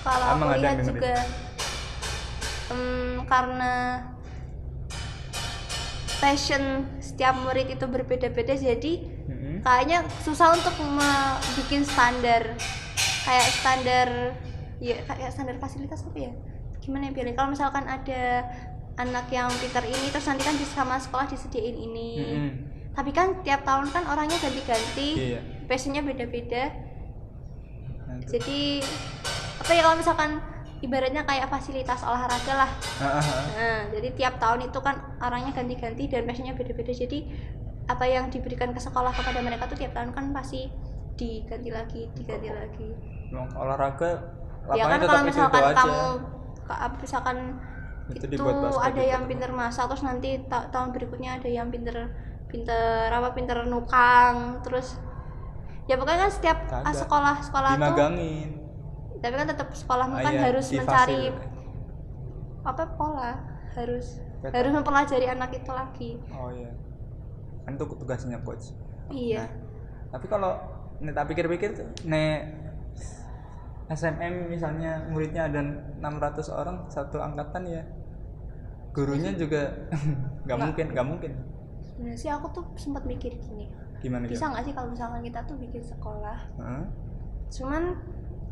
[SPEAKER 2] kalau
[SPEAKER 1] Emang ada
[SPEAKER 2] aku
[SPEAKER 1] yang
[SPEAKER 2] lihat
[SPEAKER 1] dengerin?
[SPEAKER 2] juga em, karena passion setiap murid itu berbeda-beda jadi
[SPEAKER 1] Mm-mm.
[SPEAKER 2] kayaknya susah untuk me- bikin standar kayak standar ya kayak standar fasilitas apa ya gimana ya biarin kalau misalkan ada anak yang pinter ini terus nanti kan di sama sekolah disediain ini
[SPEAKER 1] Mm-mm.
[SPEAKER 2] tapi kan tiap tahun kan orangnya ganti-ganti
[SPEAKER 1] iya
[SPEAKER 2] passionnya beda-beda
[SPEAKER 1] Nah, itu.
[SPEAKER 2] jadi apa ya kalau misalkan ibaratnya kayak fasilitas olahraga lah
[SPEAKER 1] Ah, ah, ah.
[SPEAKER 2] nah, jadi tiap tahun itu kan orangnya ganti-ganti dan passionnya beda-beda jadi apa yang diberikan ke sekolah kepada mereka tuh tiap tahun kan pasti diganti lagi diganti lagi
[SPEAKER 1] Emang olahraga lapangan
[SPEAKER 2] ya kan
[SPEAKER 1] tetap itu
[SPEAKER 2] kalau
[SPEAKER 1] itu
[SPEAKER 2] misalkan
[SPEAKER 1] aja
[SPEAKER 2] kamu ka- misalkan
[SPEAKER 1] Itu
[SPEAKER 2] itu,
[SPEAKER 1] dibuat basket, gitu kan.
[SPEAKER 2] ada
[SPEAKER 1] dibuat
[SPEAKER 2] yang
[SPEAKER 1] apa.
[SPEAKER 2] pinter masak terus nanti ta- tahun berikutnya ada yang pinter pinter apa pinter nukang terus ya pokoknya kan setiap ah,
[SPEAKER 1] Kagak.
[SPEAKER 2] sekolah sekolah tuh
[SPEAKER 1] dimagangin
[SPEAKER 2] tapi kan tetap sekolahmu
[SPEAKER 1] Ah,
[SPEAKER 2] kan
[SPEAKER 1] iya,
[SPEAKER 2] harus
[SPEAKER 1] di
[SPEAKER 2] mencari
[SPEAKER 1] fasil.
[SPEAKER 2] apa pola harus
[SPEAKER 1] Betul.
[SPEAKER 2] harus mempelajari anak itu lagi
[SPEAKER 1] oh iya kan itu tugasnya coach Nah.
[SPEAKER 2] iya
[SPEAKER 1] tapi kalau nek tak pikir-pikir tuh, nek SMM misalnya muridnya ada 600 orang satu angkatan ya gurunya
[SPEAKER 2] Iya.
[SPEAKER 1] juga nggak mungkin nggak mungkin
[SPEAKER 2] sebenarnya sih aku tuh sempat mikir gini
[SPEAKER 1] gimana
[SPEAKER 2] bisa
[SPEAKER 1] gitu
[SPEAKER 2] nggak sih kalau misalkan kita tuh bikin sekolah cuman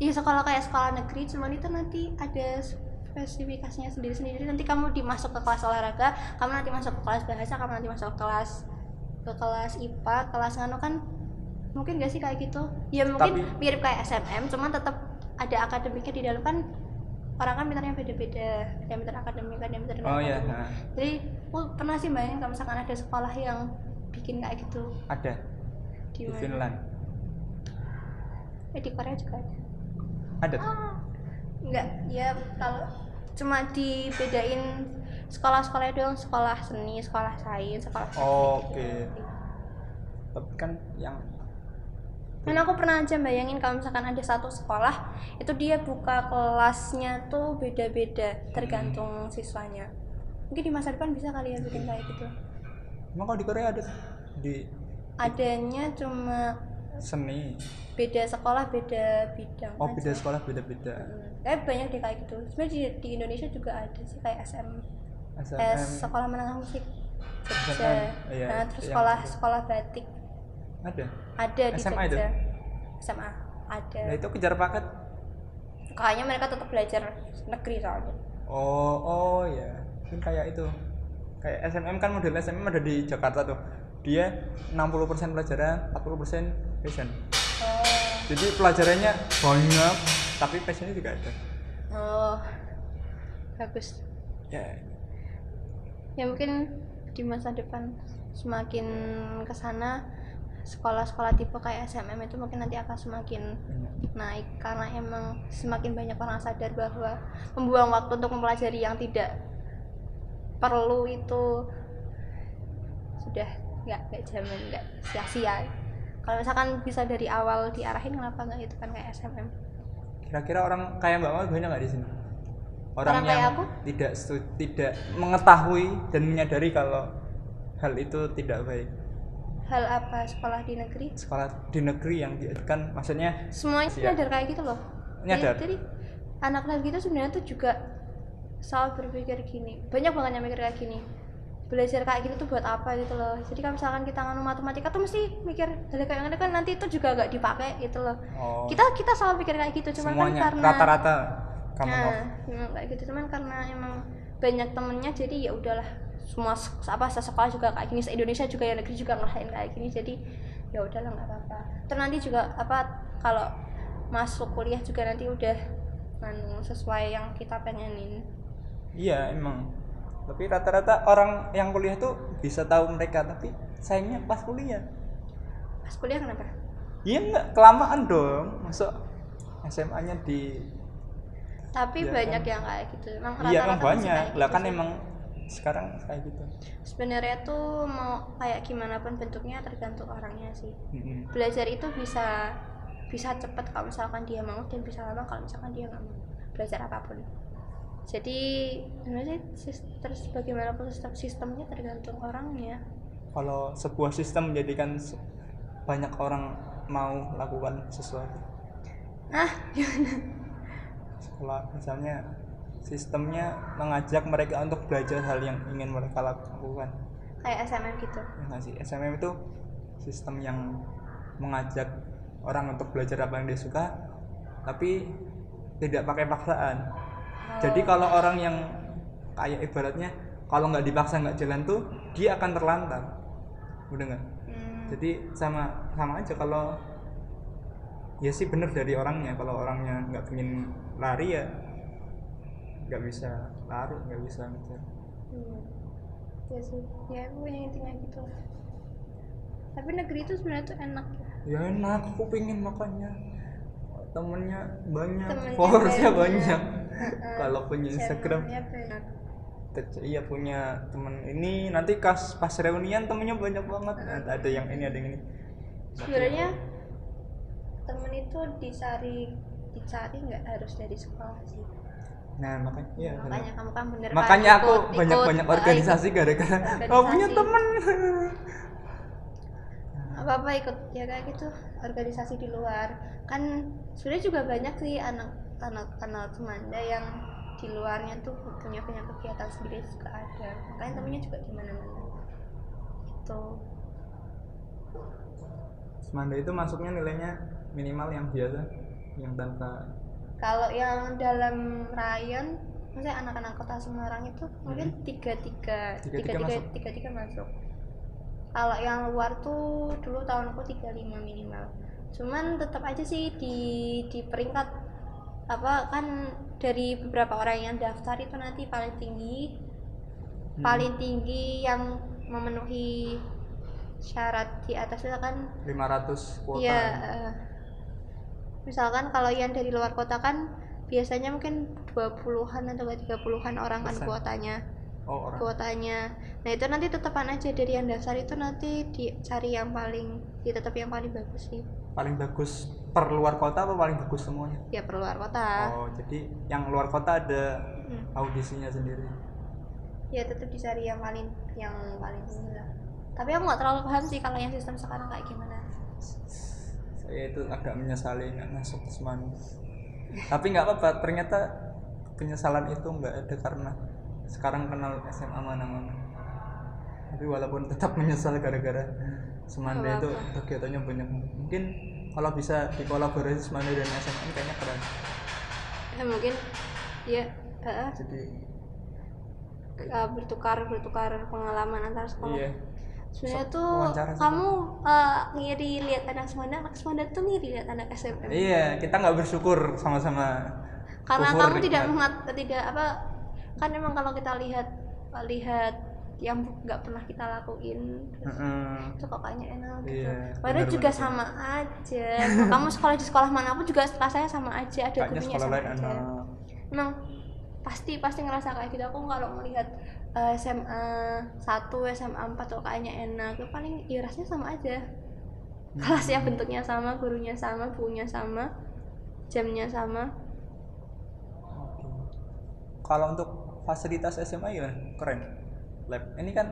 [SPEAKER 2] ya sekolah kayak sekolah negeri cuman itu nanti ada spesifikasinya sendiri-sendiri nanti kamu dimasuk ke kelas olahraga kamu nanti masuk ke kelas bahasa kamu nanti masuk ke kelas ke kelas IPA kelas nganu kan mungkin gak sih kayak gitu ya mungkin
[SPEAKER 1] Tapi-
[SPEAKER 2] mirip kayak SMM cuman tetap ada akademiknya di dalam kan orang kan pintarnya beda-beda ada yang pintar akademik ada yang pintar
[SPEAKER 1] oh iya
[SPEAKER 2] akademik.
[SPEAKER 1] nah,
[SPEAKER 2] jadi aku pernah sih bayangin kalau misalkan ada sekolah yang bikin kayak gitu
[SPEAKER 1] ada di
[SPEAKER 2] mana?
[SPEAKER 1] Finland
[SPEAKER 2] eh, di Korea juga ada
[SPEAKER 1] ada
[SPEAKER 2] Oh,
[SPEAKER 1] tuh.
[SPEAKER 2] Enggak, ya kalau cuma dibedain sekolah-sekolah doang, sekolah seni, sekolah sains, sekolah teknik
[SPEAKER 1] Oh,
[SPEAKER 2] gitu.
[SPEAKER 1] oke. tapi kan yang
[SPEAKER 2] Dan aku pernah aja bayangin kalau misalkan ada satu sekolah, itu dia buka kelasnya tuh beda-beda
[SPEAKER 1] Hmm.
[SPEAKER 2] tergantung siswanya. Mungkin di masa depan bisa kali ya bikin kayak gitu.
[SPEAKER 1] emang kalau di Korea ada tuh? di
[SPEAKER 2] Adanya cuma
[SPEAKER 1] seni
[SPEAKER 2] beda sekolah, beda bidang.
[SPEAKER 1] oh
[SPEAKER 2] aja.
[SPEAKER 1] beda sekolah beda beda
[SPEAKER 2] Hmm. Kayak banyak deh kayak gitu. Sebenarnya di, di Indonesia juga ada sih kayak SM,
[SPEAKER 1] SMM
[SPEAKER 2] eh, sekolah menengah musik. Jogja.
[SPEAKER 1] Jangan, iya,
[SPEAKER 2] nah, terus
[SPEAKER 1] yang-
[SPEAKER 2] sekolah sekolah batik
[SPEAKER 1] ada
[SPEAKER 2] ada di
[SPEAKER 1] SMA itu?
[SPEAKER 2] Jogja. SMA ada.
[SPEAKER 1] nah itu kejar paket
[SPEAKER 2] Kayaknya mereka tetap belajar negeri soalnya.
[SPEAKER 1] oh oh ya mungkin kayak itu kayak SMM kan model SMM ada di Jakarta tuh dia 60% pelajaran 40% passion
[SPEAKER 2] Oh.
[SPEAKER 1] jadi pelajarannya banyak tapi passionnya juga ada
[SPEAKER 2] Oh. Bagus.
[SPEAKER 1] ya
[SPEAKER 2] Ya mungkin di masa depan semakin ke sana sekolah-sekolah tipe kayak SMM itu mungkin nanti akan semakin
[SPEAKER 1] banyak.
[SPEAKER 2] naik karena emang semakin banyak orang sadar bahwa membuang waktu untuk mempelajari yang tidak perlu itu sudah nggak nggak zaman nggak sia-sia kalau misalkan bisa dari awal diarahin kenapa nggak itu kan kayak SMM
[SPEAKER 1] kira-kira orang kayak Mbak Mawar banyak nggak di sini
[SPEAKER 2] Orang kayak aku?
[SPEAKER 1] tidak setu- tidak mengetahui dan menyadari kalau hal itu tidak baik
[SPEAKER 2] hal apa sekolah di negeri
[SPEAKER 1] sekolah di negeri yang diajarkan maksudnya
[SPEAKER 2] semuanya
[SPEAKER 1] Siap.
[SPEAKER 2] sadar kayak gitu loh
[SPEAKER 1] Iya. Nyadar.
[SPEAKER 2] jadi, jadi anak-anak gitu sebenarnya tuh juga selalu berpikir gini banyak banget yang mikir kayak gini belajar kayak gini tuh buat apa gitu loh jadi kalau misalkan kita nganu matematika tuh mesti mikir hal kayak gini kan nanti itu juga gak dipakai gitu loh
[SPEAKER 1] oh,
[SPEAKER 2] kita kita selalu pikir kayak gitu cuman
[SPEAKER 1] semuanya
[SPEAKER 2] kan karena
[SPEAKER 1] rata-rata kamu
[SPEAKER 2] nah, memang kayak gitu cuman karena emang banyak temennya jadi ya udahlah semua se- apa sekolah juga kayak gini se Indonesia juga ya negeri juga ngerasain kayak gini jadi ya udahlah nggak apa-apa terus nanti juga apa kalau masuk kuliah juga nanti udah anu, sesuai yang kita pengenin
[SPEAKER 1] iya emang tapi rata-rata orang yang kuliah tuh bisa tahu mereka tapi sayangnya pas kuliah
[SPEAKER 2] pas kuliah kenapa
[SPEAKER 1] iya nggak kelamaan dong masuk SMA-nya di
[SPEAKER 2] tapi
[SPEAKER 1] Iya,
[SPEAKER 2] banyak
[SPEAKER 1] kan.
[SPEAKER 2] yang kayak gitu emang
[SPEAKER 1] iya
[SPEAKER 2] rata-rata
[SPEAKER 1] emang
[SPEAKER 2] masih kayak
[SPEAKER 1] banyak
[SPEAKER 2] gitu
[SPEAKER 1] lah kan
[SPEAKER 2] sih.
[SPEAKER 1] emang sekarang kayak gitu
[SPEAKER 2] sebenarnya tuh mau kayak gimana pun bentuknya tergantung orangnya sih
[SPEAKER 1] Mm-mm.
[SPEAKER 2] belajar itu bisa bisa cepat kalau misalkan dia mau dan bisa lama kalau misalkan dia nggak mau belajar apapun jadi sebenarnya sis- terus bagaimanapun sistem sistemnya tergantung orangnya
[SPEAKER 1] kalau sebuah sistem menjadikan se- banyak orang mau lakukan sesuatu
[SPEAKER 2] ah
[SPEAKER 1] sekolah misalnya sistemnya mengajak mereka untuk belajar hal yang ingin mereka lakukan
[SPEAKER 2] kayak SMM gitu
[SPEAKER 1] ya nggak sih SMM itu sistem yang mengajak orang untuk belajar apa yang dia suka tapi tidak pakai paksaan jadi kalau orang yang kayak ibaratnya kalau nggak dipaksa nggak jalan tuh dia akan terlantar udah nggak
[SPEAKER 2] Hmm,
[SPEAKER 1] jadi sama sama aja kalau ya sih bener dari orangnya kalau orangnya nggak pengen lari ya nggak bisa larut nggak bisa ngejar
[SPEAKER 2] hmm. ya sih ya aku yang intinya gitu tapi negeri itu sebenarnya tuh enak
[SPEAKER 1] ya enak aku pengen makanya temennya banyak
[SPEAKER 2] Temennya
[SPEAKER 1] followersnya
[SPEAKER 2] banyak.
[SPEAKER 1] banyak kalau punya Instagram
[SPEAKER 2] Channelnya banyak
[SPEAKER 1] Te- iya punya temen ini nanti kas pas reunian temennya banyak banget Nah, ada yang ini ada yang ini
[SPEAKER 2] sebenarnya temen itu dicari dicari nggak harus dari sekolah sih
[SPEAKER 1] nah makanya iya, bener.
[SPEAKER 2] makanya kamu kan bener Pak,
[SPEAKER 1] makanya aku
[SPEAKER 2] ikut- ikut,
[SPEAKER 1] banyak banyak
[SPEAKER 2] Pak,
[SPEAKER 1] organisasi gara-gara
[SPEAKER 2] Organisasi.
[SPEAKER 1] oh punya temen
[SPEAKER 2] ikut- apa apa ikut ya kayak gitu organisasi di luar kan sebenarnya juga banyak sih anak anak anak semanda yang di luarnya tuh punya punya kegiatan sendiri juga ada makanya temennya juga di Gitu. mana mana itu
[SPEAKER 1] Semanda itu masuknya nilainya minimal yang biasa yang tanpa
[SPEAKER 2] kalau yang dalam rayon maksudnya anak-anak kota Semarang itu mungkin tiga tiga tiga
[SPEAKER 1] Hmm. Tiga-tiga
[SPEAKER 2] tiga
[SPEAKER 1] masuk.
[SPEAKER 2] tiga tiga masuk kalau yang luar tuh dulu tahunku 35 minimal cuman tetap aja sih di di peringkat apa kan dari beberapa orang yang daftar itu nanti paling tinggi
[SPEAKER 1] Hmm.
[SPEAKER 2] paling tinggi yang memenuhi syarat di atas itu kan
[SPEAKER 1] 500 kuota
[SPEAKER 2] Iya. eh, misalkan kalau yang dari luar kota kan biasanya mungkin 20-an atau 30-an orang kan
[SPEAKER 1] Persen.
[SPEAKER 2] kuotanya.
[SPEAKER 1] oh orang
[SPEAKER 2] Kuotanya. Nah, itu nanti tetepan aja dari yang dasar itu nanti dicari yang paling ya tetap yang paling bagus sih.
[SPEAKER 1] paling bagus per luar kota apa paling bagus semuanya
[SPEAKER 2] Ya per luar kota.
[SPEAKER 1] oh jadi yang luar kota ada
[SPEAKER 2] Mm.
[SPEAKER 1] audisinya sendiri
[SPEAKER 2] Ya tetap dicari yang paling yang paling tinggi lah. Tapi aku nggak terlalu paham sih kalau yang sistem sekarang kayak gimana.
[SPEAKER 1] saya itu agak menyesali nggak masuk ke Semanda tapi nggak apa-apa ternyata penyesalan itu nggak ada karena sekarang kenal SMA mana-mana tapi walaupun tetap menyesal gara-gara Semanda
[SPEAKER 2] Gak
[SPEAKER 1] itu
[SPEAKER 2] apa-apa.
[SPEAKER 1] kegiatannya banyak mungkin kalau bisa dikolaborasi Semanda dan SMM kayaknya keren
[SPEAKER 2] ya mungkin ya eh,
[SPEAKER 1] jadi
[SPEAKER 2] eh, bertukar bertukar pengalaman antar sekolah
[SPEAKER 1] iya
[SPEAKER 2] sebenarnya
[SPEAKER 1] Sa-
[SPEAKER 2] tuh
[SPEAKER 1] wawancara sih,
[SPEAKER 2] kamu eh, ngiri lihat anak Semanda anak Semanda tuh ngiri lihat anak SMM
[SPEAKER 1] iya kita nggak bersyukur sama-sama Kufur
[SPEAKER 2] karena
[SPEAKER 1] kan?
[SPEAKER 2] kamu
[SPEAKER 1] nikmat.
[SPEAKER 2] tidak mengat tidak apa kan emang kalau kita lihat lihat yang bu- nggak pernah kita lakuin terus
[SPEAKER 1] Mm-mm.
[SPEAKER 2] itu kok kayaknya enak gitu
[SPEAKER 1] Iya,
[SPEAKER 2] padahal
[SPEAKER 1] benar,
[SPEAKER 2] juga
[SPEAKER 1] benar.
[SPEAKER 2] sama aja kamu sekolah di sekolah manapun juga rasanya sama aja ada
[SPEAKER 1] kayaknya
[SPEAKER 2] gurunya
[SPEAKER 1] sekolah
[SPEAKER 2] sama
[SPEAKER 1] lain
[SPEAKER 2] aja
[SPEAKER 1] anak
[SPEAKER 2] emang Nah, pasti pasti ngerasa kayak gitu aku kalau melihat eh, SMA 1, SMA 4 tuh kayaknya enak Tuh paling ya rasanya sama aja kelasnya
[SPEAKER 1] Hmm.
[SPEAKER 2] bentuknya sama gurunya sama bukunya sama jamnya sama
[SPEAKER 1] Oke. Kalau untuk fasilitas SMA gimana? Keren. Lab. Ini kan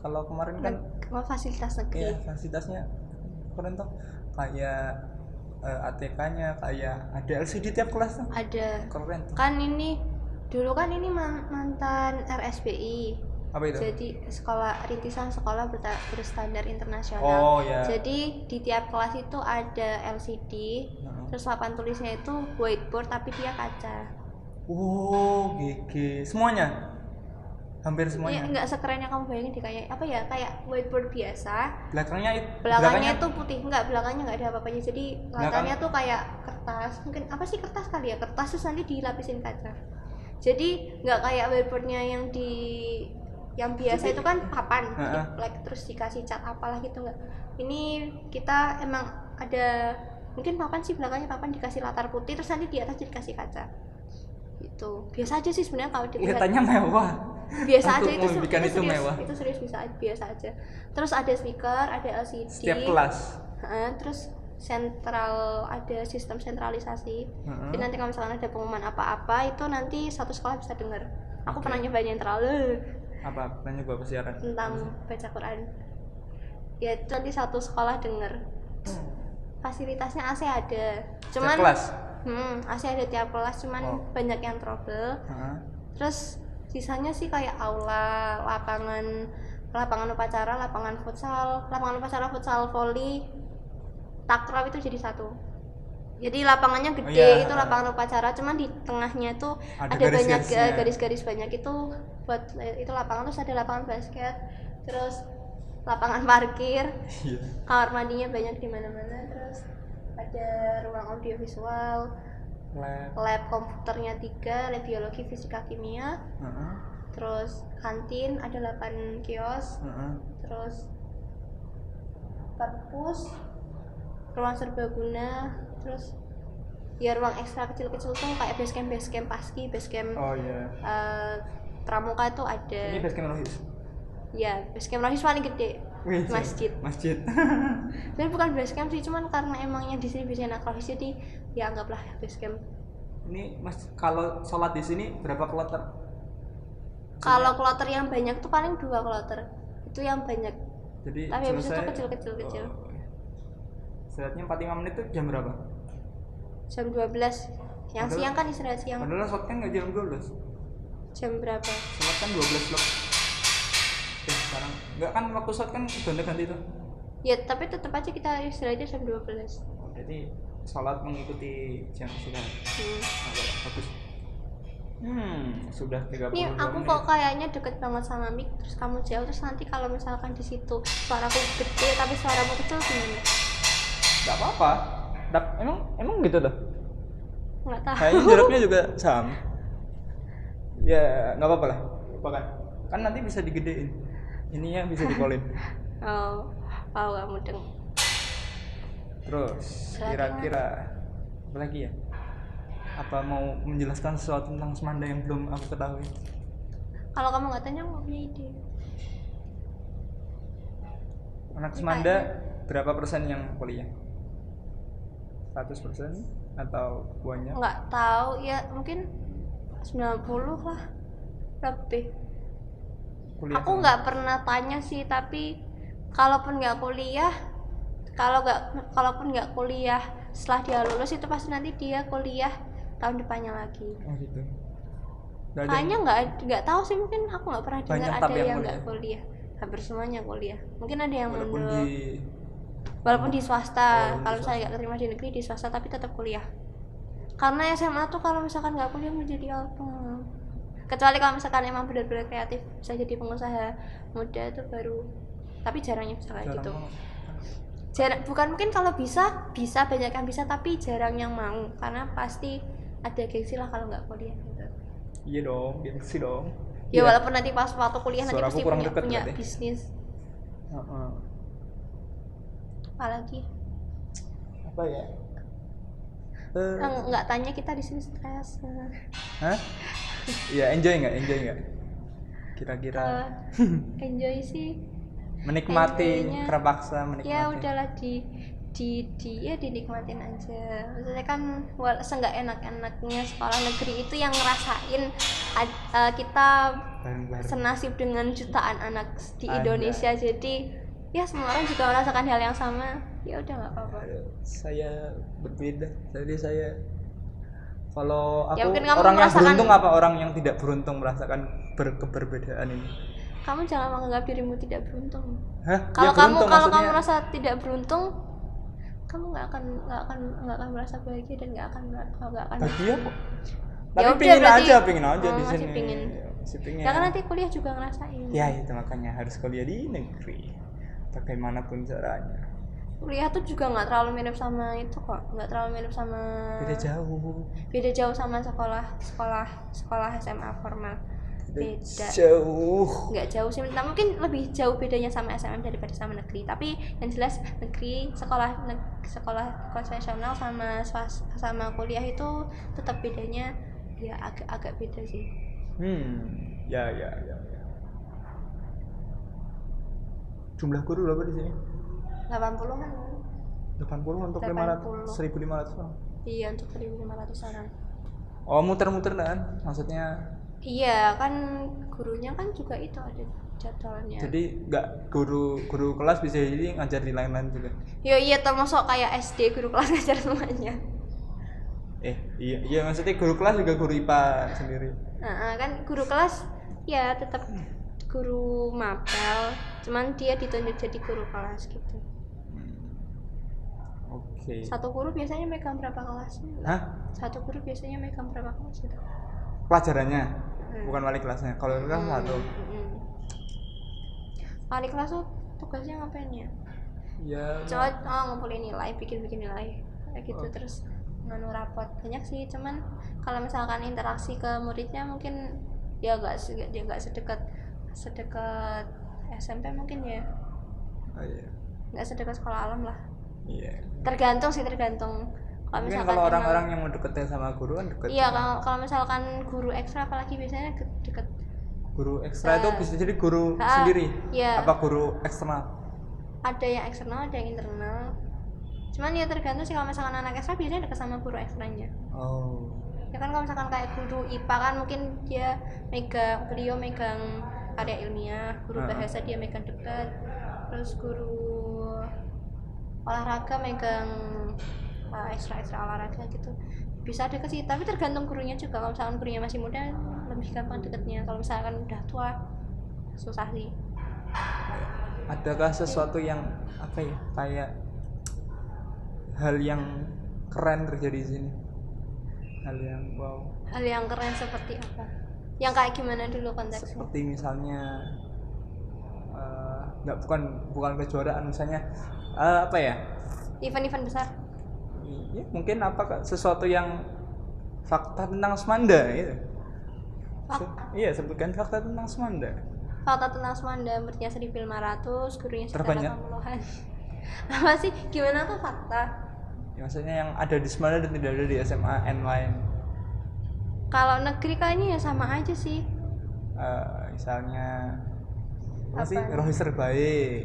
[SPEAKER 1] kalau kemarin kan
[SPEAKER 2] Neg- oh, fasilitas
[SPEAKER 1] ya
[SPEAKER 2] negeri
[SPEAKER 1] fasilitasnya keren tuh. Kayak eh, ATK-nya, kayak ada LCD tiap kelas tuh.
[SPEAKER 2] ada
[SPEAKER 1] Keren tuh.
[SPEAKER 2] kan ini dulu kan ini man- mantan RSBI
[SPEAKER 1] Apa itu?
[SPEAKER 2] jadi sekolah rintisan sekolah berta- berstandar internasional
[SPEAKER 1] oh ya.
[SPEAKER 2] jadi di tiap kelas itu ada LCD
[SPEAKER 1] Heeh.
[SPEAKER 2] terus papan tulisnya itu whiteboard tapi dia kaca
[SPEAKER 1] Wow, gigi. Oh, Semuanya. Hampir
[SPEAKER 2] ya,
[SPEAKER 1] semuanya.
[SPEAKER 2] nggak sekeren yang kamu bayangin di kayak apa ya kayak whiteboard biasa
[SPEAKER 1] Belakangnya it-
[SPEAKER 2] belakangnya, itu putih nggak belakangnya nggak ada apa-apanya jadi
[SPEAKER 1] Belakang-
[SPEAKER 2] latarnya tuh kayak kertas mungkin apa sih kertas kali ya kertas terus nanti dilapisin kaca jadi nggak kayak whiteboardnya yang di yang biasa
[SPEAKER 1] Jadi-
[SPEAKER 2] itu kan papan
[SPEAKER 1] Heeh.
[SPEAKER 2] diplek, terus dikasih cat apalah gitu nggak ini kita emang ada mungkin papan sih belakangnya papan dikasih latar putih terus nanti di atas dikasih kaca gitu biasa aja sih sebenarnya kalau dilihat
[SPEAKER 1] kelihatannya mewah. Iya, Untuk
[SPEAKER 2] biasa aja itu, ser-
[SPEAKER 1] memberikan itu
[SPEAKER 2] serius,
[SPEAKER 1] mewah.
[SPEAKER 2] itu serius bisa biasa aja terus ada speaker ada LCD
[SPEAKER 1] Setiap kelas.
[SPEAKER 2] Heeh, terus sentral ada sistem sentralisasi
[SPEAKER 1] Heeh.
[SPEAKER 2] jadi nanti kalau misalkan ada pengumuman apa-apa itu nanti satu sekolah bisa dengar aku
[SPEAKER 1] Oke.
[SPEAKER 2] pernah nyobain yang terlalu
[SPEAKER 1] Apa? Nanya gua apa siaran?
[SPEAKER 2] tentang baca Quran ya itu nanti satu sekolah dengar fasilitasnya AC ada
[SPEAKER 1] Setiap
[SPEAKER 2] cuman
[SPEAKER 1] kelas.
[SPEAKER 2] Hmm, AC ada tiap kelas cuman
[SPEAKER 1] Oh.
[SPEAKER 2] banyak yang trouble
[SPEAKER 1] Heeh.
[SPEAKER 2] terus sisanya sih kayak aula lapangan lapangan upacara lapangan futsal lapangan upacara futsal volley takraw itu jadi satu jadi lapangannya gede
[SPEAKER 1] iya.
[SPEAKER 2] itu lapangan upacara cuman di tengahnya itu
[SPEAKER 1] Ada
[SPEAKER 2] ada, banyak
[SPEAKER 1] garis-garisnya.
[SPEAKER 2] ga- garis-garis banyak itu buat itu lapangan terus ada lapangan basket terus lapangan parkir
[SPEAKER 1] Iya.
[SPEAKER 2] kamar mandinya banyak di mana-mana terus ada ruang audiovisual
[SPEAKER 1] Lab.
[SPEAKER 2] lab komputernya tiga lab biologi fisika kimia
[SPEAKER 1] Heeh.
[SPEAKER 2] terus kantin ada 8 kios
[SPEAKER 1] Heeh.
[SPEAKER 2] terus perpus ruang serbaguna terus ya ruang ekstra kecil-kecil tuh kayak basecamp basecamp paski basecamp
[SPEAKER 1] Oh iya.
[SPEAKER 2] eh, pramuka itu ada
[SPEAKER 1] Ini basecamp Rohis.
[SPEAKER 2] ya basecamp rohis paling gede
[SPEAKER 1] Wih, sih.
[SPEAKER 2] Masjid.
[SPEAKER 1] Masjid.
[SPEAKER 2] sebenarnya bukan basecamp sih cuman karena emangnya di sini biasanya anak rohis jadi ya anggaplah basecamp
[SPEAKER 1] Ini mas kalau sholat di sini berapa kloter? Iya.
[SPEAKER 2] kalau kloter yang banyak tuh paling dua kloter itu yang banyak
[SPEAKER 1] Jadi
[SPEAKER 2] Tapi habis itu
[SPEAKER 1] selesai
[SPEAKER 2] kecil-kecil, kecil.
[SPEAKER 1] Oh, iya. Istirahatnya 45 menit tuh jam berapa?
[SPEAKER 2] jam 12 yang
[SPEAKER 1] Padahal-
[SPEAKER 2] siang kan istirahat siang
[SPEAKER 1] Padahal sholat kan nggak jam 12
[SPEAKER 2] jam berapa
[SPEAKER 1] Sholat kan 12 loh Eh sekarang Nggak kan waktu sholat kan ganti-ganti tuh
[SPEAKER 2] ya tapi tetap aja kita istirahatnya jam 12 hmm.
[SPEAKER 1] oh, Jadi sholat mengikuti jam sudah Nah, Bagus Hmm, sudah 30
[SPEAKER 2] ini aku kok kayaknya deket banget sama mic terus kamu jauh terus nanti kalau misalkan di situ suaraku gede tapi suaramu kecil gimana
[SPEAKER 1] Gak apa-apa Tap- Emang emang gitu loh
[SPEAKER 2] nggak tahu
[SPEAKER 1] kayaknya jaraknya juga sama ya nggak apa-apa lah bahkan kan nanti bisa digedein ininya bisa dikolin
[SPEAKER 2] oh wow kamu deng
[SPEAKER 1] terus
[SPEAKER 2] Lagi
[SPEAKER 1] kira-kira apa lagi ya apa mau menjelaskan sesuatu tentang semanda yang belum aku ketahui
[SPEAKER 2] kalau kamu nggak tanya aku nggak punya ide
[SPEAKER 1] anak
[SPEAKER 2] Ini
[SPEAKER 1] semanda berapa persen yang kuliah 100 persen atau banyak
[SPEAKER 2] nggak tahu ya mungkin 90 lah lebih
[SPEAKER 1] kuliah
[SPEAKER 2] aku nggak pernah tanya sih tapi kalaupun nggak kuliah kalau nggak kalaupun nggak kuliah setelah dia lulus itu pasti nanti dia kuliah tahun depannya lagi
[SPEAKER 1] oh gitu Nggak ada-
[SPEAKER 2] kayaknya nggak ad- nggak tahu sih mungkin aku nggak pernah dengar
[SPEAKER 1] Banyak
[SPEAKER 2] ada
[SPEAKER 1] tapi yang
[SPEAKER 2] yang nggak kuliah hampir semuanya kuliah mungkin ada yang
[SPEAKER 1] walaupun
[SPEAKER 2] mondok
[SPEAKER 1] di
[SPEAKER 2] walaupun di swasta
[SPEAKER 1] Walaupun Oh, di
[SPEAKER 2] kalau saya nggak keterima di negeri di swasta tapi tetap kuliah karena SMA tuh kalau misalkan nggak kuliah mau jadi apa kecuali kalau misalkan emang benar-benar kreatif bisa jadi pengusaha muda itu baru tapi jarangnya bisa kayak
[SPEAKER 1] jarang
[SPEAKER 2] gitu
[SPEAKER 1] banget.
[SPEAKER 2] Jarang- bukan mungkin kalau bisa bisa banyak yang bisa tapi jarang yang mau karena pasti ada gengsi lah kalau nggak kuliah gitu.
[SPEAKER 1] iya dong gengsi dong Iya.
[SPEAKER 2] ya walaupun nanti pas waktu kuliah nanti
[SPEAKER 1] Suara aku
[SPEAKER 2] pasti
[SPEAKER 1] kurang
[SPEAKER 2] punya,
[SPEAKER 1] deket
[SPEAKER 2] punya
[SPEAKER 1] berarti.
[SPEAKER 2] bisnis
[SPEAKER 1] Heeh.
[SPEAKER 2] apalagi
[SPEAKER 1] apa ya Eh,
[SPEAKER 2] Nah, nggak tanya kita di sini stres
[SPEAKER 1] Nah. Hah? Iya enjoy nggak? Enjoy nggak? Kira-kira
[SPEAKER 2] Eh, enjoy sih
[SPEAKER 1] menikmati,
[SPEAKER 2] enjoy-nya-
[SPEAKER 1] terpaksa menikmati.
[SPEAKER 2] ya udahlah di di di ya dinikmatin aja maksudnya kan wal seenggak enak-enaknya sekolah negeri itu yang ngerasain ad- eh, kita
[SPEAKER 1] Bareng-bareng.
[SPEAKER 2] senasib dengan jutaan anak di
[SPEAKER 1] Ada.
[SPEAKER 2] Indonesia jadi ya semua orang juga merasakan hal yang sama ya udah nggak apa-apa
[SPEAKER 1] Eh, Saya berbeda. Jadi saya kalau aku
[SPEAKER 2] Ya, mungkin kamu
[SPEAKER 1] orang yang
[SPEAKER 2] merasakan-
[SPEAKER 1] beruntung apa orang yang tidak beruntung merasakan ber- keberbedaan ini?
[SPEAKER 2] kamu jangan menganggap dirimu tidak beruntung
[SPEAKER 1] Hah? Ya,
[SPEAKER 2] kalau kamu
[SPEAKER 1] beruntung,
[SPEAKER 2] kalau kamu
[SPEAKER 1] maksudnya-
[SPEAKER 2] merasa tidak beruntung kamu nggak akan nggak akan nggak akan merasa bahagia dan nggak akan nggak akan
[SPEAKER 1] bahagia kok.
[SPEAKER 2] Ya
[SPEAKER 1] Tapi
[SPEAKER 2] udah,
[SPEAKER 1] pingin
[SPEAKER 2] berarti-
[SPEAKER 1] aja, pingin aja
[SPEAKER 2] Oh,
[SPEAKER 1] di
[SPEAKER 2] masih
[SPEAKER 1] sini.
[SPEAKER 2] pingin.
[SPEAKER 1] Ya, Masih pingin.
[SPEAKER 2] ya kan nanti kuliah juga ngerasain
[SPEAKER 1] Ya, itu makanya harus kuliah di negeri. Bagaimanapun caranya.
[SPEAKER 2] kuliah tuh juga nggak terlalu mirip sama itu kok nggak terlalu mirip sama
[SPEAKER 1] Beda jauh.
[SPEAKER 2] beda jauh sama sekolah sekolah sekolah SMA formal beda
[SPEAKER 1] jauh.
[SPEAKER 2] nggak jauh sih nah, mungkin lebih jauh bedanya sama SMM daripada sama negeri tapi yang jelas negeri sekolah neg- sekolah konvensional sama swas- sama kuliah itu tetap bedanya ya agak agak beda sih
[SPEAKER 1] Hmm, ya ya ya. ya. Jumlah guru berapa di sini?
[SPEAKER 2] 80 kan
[SPEAKER 1] 80 untuk
[SPEAKER 2] 80.
[SPEAKER 1] 500 1500 orang.
[SPEAKER 2] iya untuk 1500 orang
[SPEAKER 1] Oh, muter-muter kan? Maksudnya
[SPEAKER 2] iya kan gurunya kan juga itu ada jadwalnya
[SPEAKER 1] jadi nggak guru guru kelas bisa jadi ngajar di lain-lain juga.
[SPEAKER 2] ya iya termasuk kayak SD guru kelas ngajar semuanya
[SPEAKER 1] Eh, iya iya maksudnya guru kelas juga guru IPA sendiri.
[SPEAKER 2] Nah, kan guru kelas ya tetap guru mapel, cuman dia ditunjuk jadi guru kelas gitu.
[SPEAKER 1] Oke.
[SPEAKER 2] Satu guru biasanya megang berapa kelas?
[SPEAKER 1] Hah?
[SPEAKER 2] Satu guru biasanya megang berapa kelas gitu?
[SPEAKER 1] Pelajarannya,
[SPEAKER 2] Hmm.
[SPEAKER 1] bukan wali kelasnya. Kalau wali kelas satu.
[SPEAKER 2] Mm-mm. Wali kelas tuh tugasnya ngapain ya?
[SPEAKER 1] Ya.
[SPEAKER 2] Coba oh, ngumpulin nilai, bikin-bikin nilai kayak gitu
[SPEAKER 1] Oh.
[SPEAKER 2] terus nganu rapot banyak sih cuman kalau misalkan interaksi ke muridnya mungkin ya nggak se- dia nggak sedekat sedekat SMP mungkin ya
[SPEAKER 1] Oh, iya.
[SPEAKER 2] nggak sedekat sekolah alam lah
[SPEAKER 1] Iya.
[SPEAKER 2] tergantung sih tergantung kalau
[SPEAKER 1] Mungkin
[SPEAKER 2] misalkan
[SPEAKER 1] kalau
[SPEAKER 2] emang-
[SPEAKER 1] orang-orang yang mau deketin sama guru kan deket.
[SPEAKER 2] iya kalau kalau misalkan guru ekstra apalagi biasanya ke- deket
[SPEAKER 1] guru ekstra
[SPEAKER 2] Bisa.
[SPEAKER 1] itu bisa jadi guru
[SPEAKER 2] Ah,
[SPEAKER 1] sendiri
[SPEAKER 2] iya.
[SPEAKER 1] apa guru eksternal
[SPEAKER 2] ada yang eksternal ada yang internal cuman ya tergantung sih kalau misalkan anak ekstra biasanya deket sama guru ekstranya
[SPEAKER 1] oh
[SPEAKER 2] ya kan kalau misalkan kayak guru IPA kan mungkin dia megang beliau megang karya ilmiah guru
[SPEAKER 1] Heeh.
[SPEAKER 2] bahasa dia megang dekat terus guru olahraga megang uh, ekstra ekstra olahraga gitu bisa deket sih tapi tergantung gurunya juga kalau misalkan gurunya masih muda lebih gampang deketnya kalau misalkan udah tua susah sih
[SPEAKER 1] adakah sesuatu yang apa ya kayak hal yang keren terjadi di sini hal yang wow
[SPEAKER 2] hal yang keren seperti apa yang kayak gimana dulu konteksnya
[SPEAKER 1] seperti misalnya eh, nggak bukan bukan kejuaraan misalnya eh, apa ya
[SPEAKER 2] event-event besar
[SPEAKER 1] Iya, mungkin apa sesuatu yang fakta tentang Semanda gitu.
[SPEAKER 2] Fak-
[SPEAKER 1] Iya, sebutkan fakta tentang Semanda.
[SPEAKER 2] Fakta tentang Semanda muridnya 1500, gurunya sekitar
[SPEAKER 1] Terbanyak.
[SPEAKER 2] 80-an. Apa sih? Gimana tuh fakta?
[SPEAKER 1] Ya, maksudnya yang ada di Semana dan tidak ada di SMA N lain
[SPEAKER 2] Kalau negeri kayaknya ya sama aja sih.
[SPEAKER 1] Eh, misalnya apa sih
[SPEAKER 2] Apa?
[SPEAKER 1] Rohis terbaik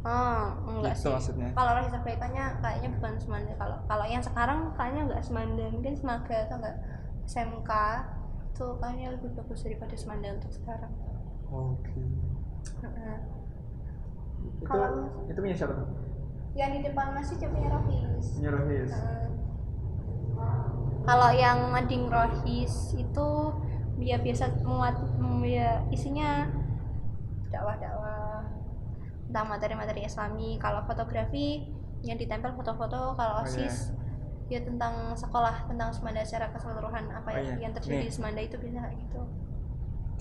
[SPEAKER 2] Oh, enggak
[SPEAKER 1] Gitu
[SPEAKER 2] sih.
[SPEAKER 1] maksudnya.
[SPEAKER 2] Kalau Rohis kayaknya kayaknya bukan Semanda. Kalau kalau yang sekarang kayaknya enggak Semanda, mungkin Semaga atau enggak SMK tuh kayaknya lebih bagus daripada Semanda untuk sekarang.
[SPEAKER 1] oke
[SPEAKER 2] Heeh.
[SPEAKER 1] itu
[SPEAKER 2] Kalau-
[SPEAKER 1] itu punya siapa tuh
[SPEAKER 2] Yang di depan masih punya Rohis.
[SPEAKER 1] punya Rohis
[SPEAKER 2] Kalau yang ngading rohis itu ya biasa muat mm, ya isinya dakwah-dakwah tentang materi-materi islami kalau fotografi yang ditempel foto-foto kalau
[SPEAKER 1] Oh, iya.
[SPEAKER 2] osis ya tentang sekolah tentang semanda secara keseluruhan apa
[SPEAKER 1] Oh,
[SPEAKER 2] yang-
[SPEAKER 1] iya.
[SPEAKER 2] yang terjadi
[SPEAKER 1] Nih.
[SPEAKER 2] di semanda itu biasa kayak gitu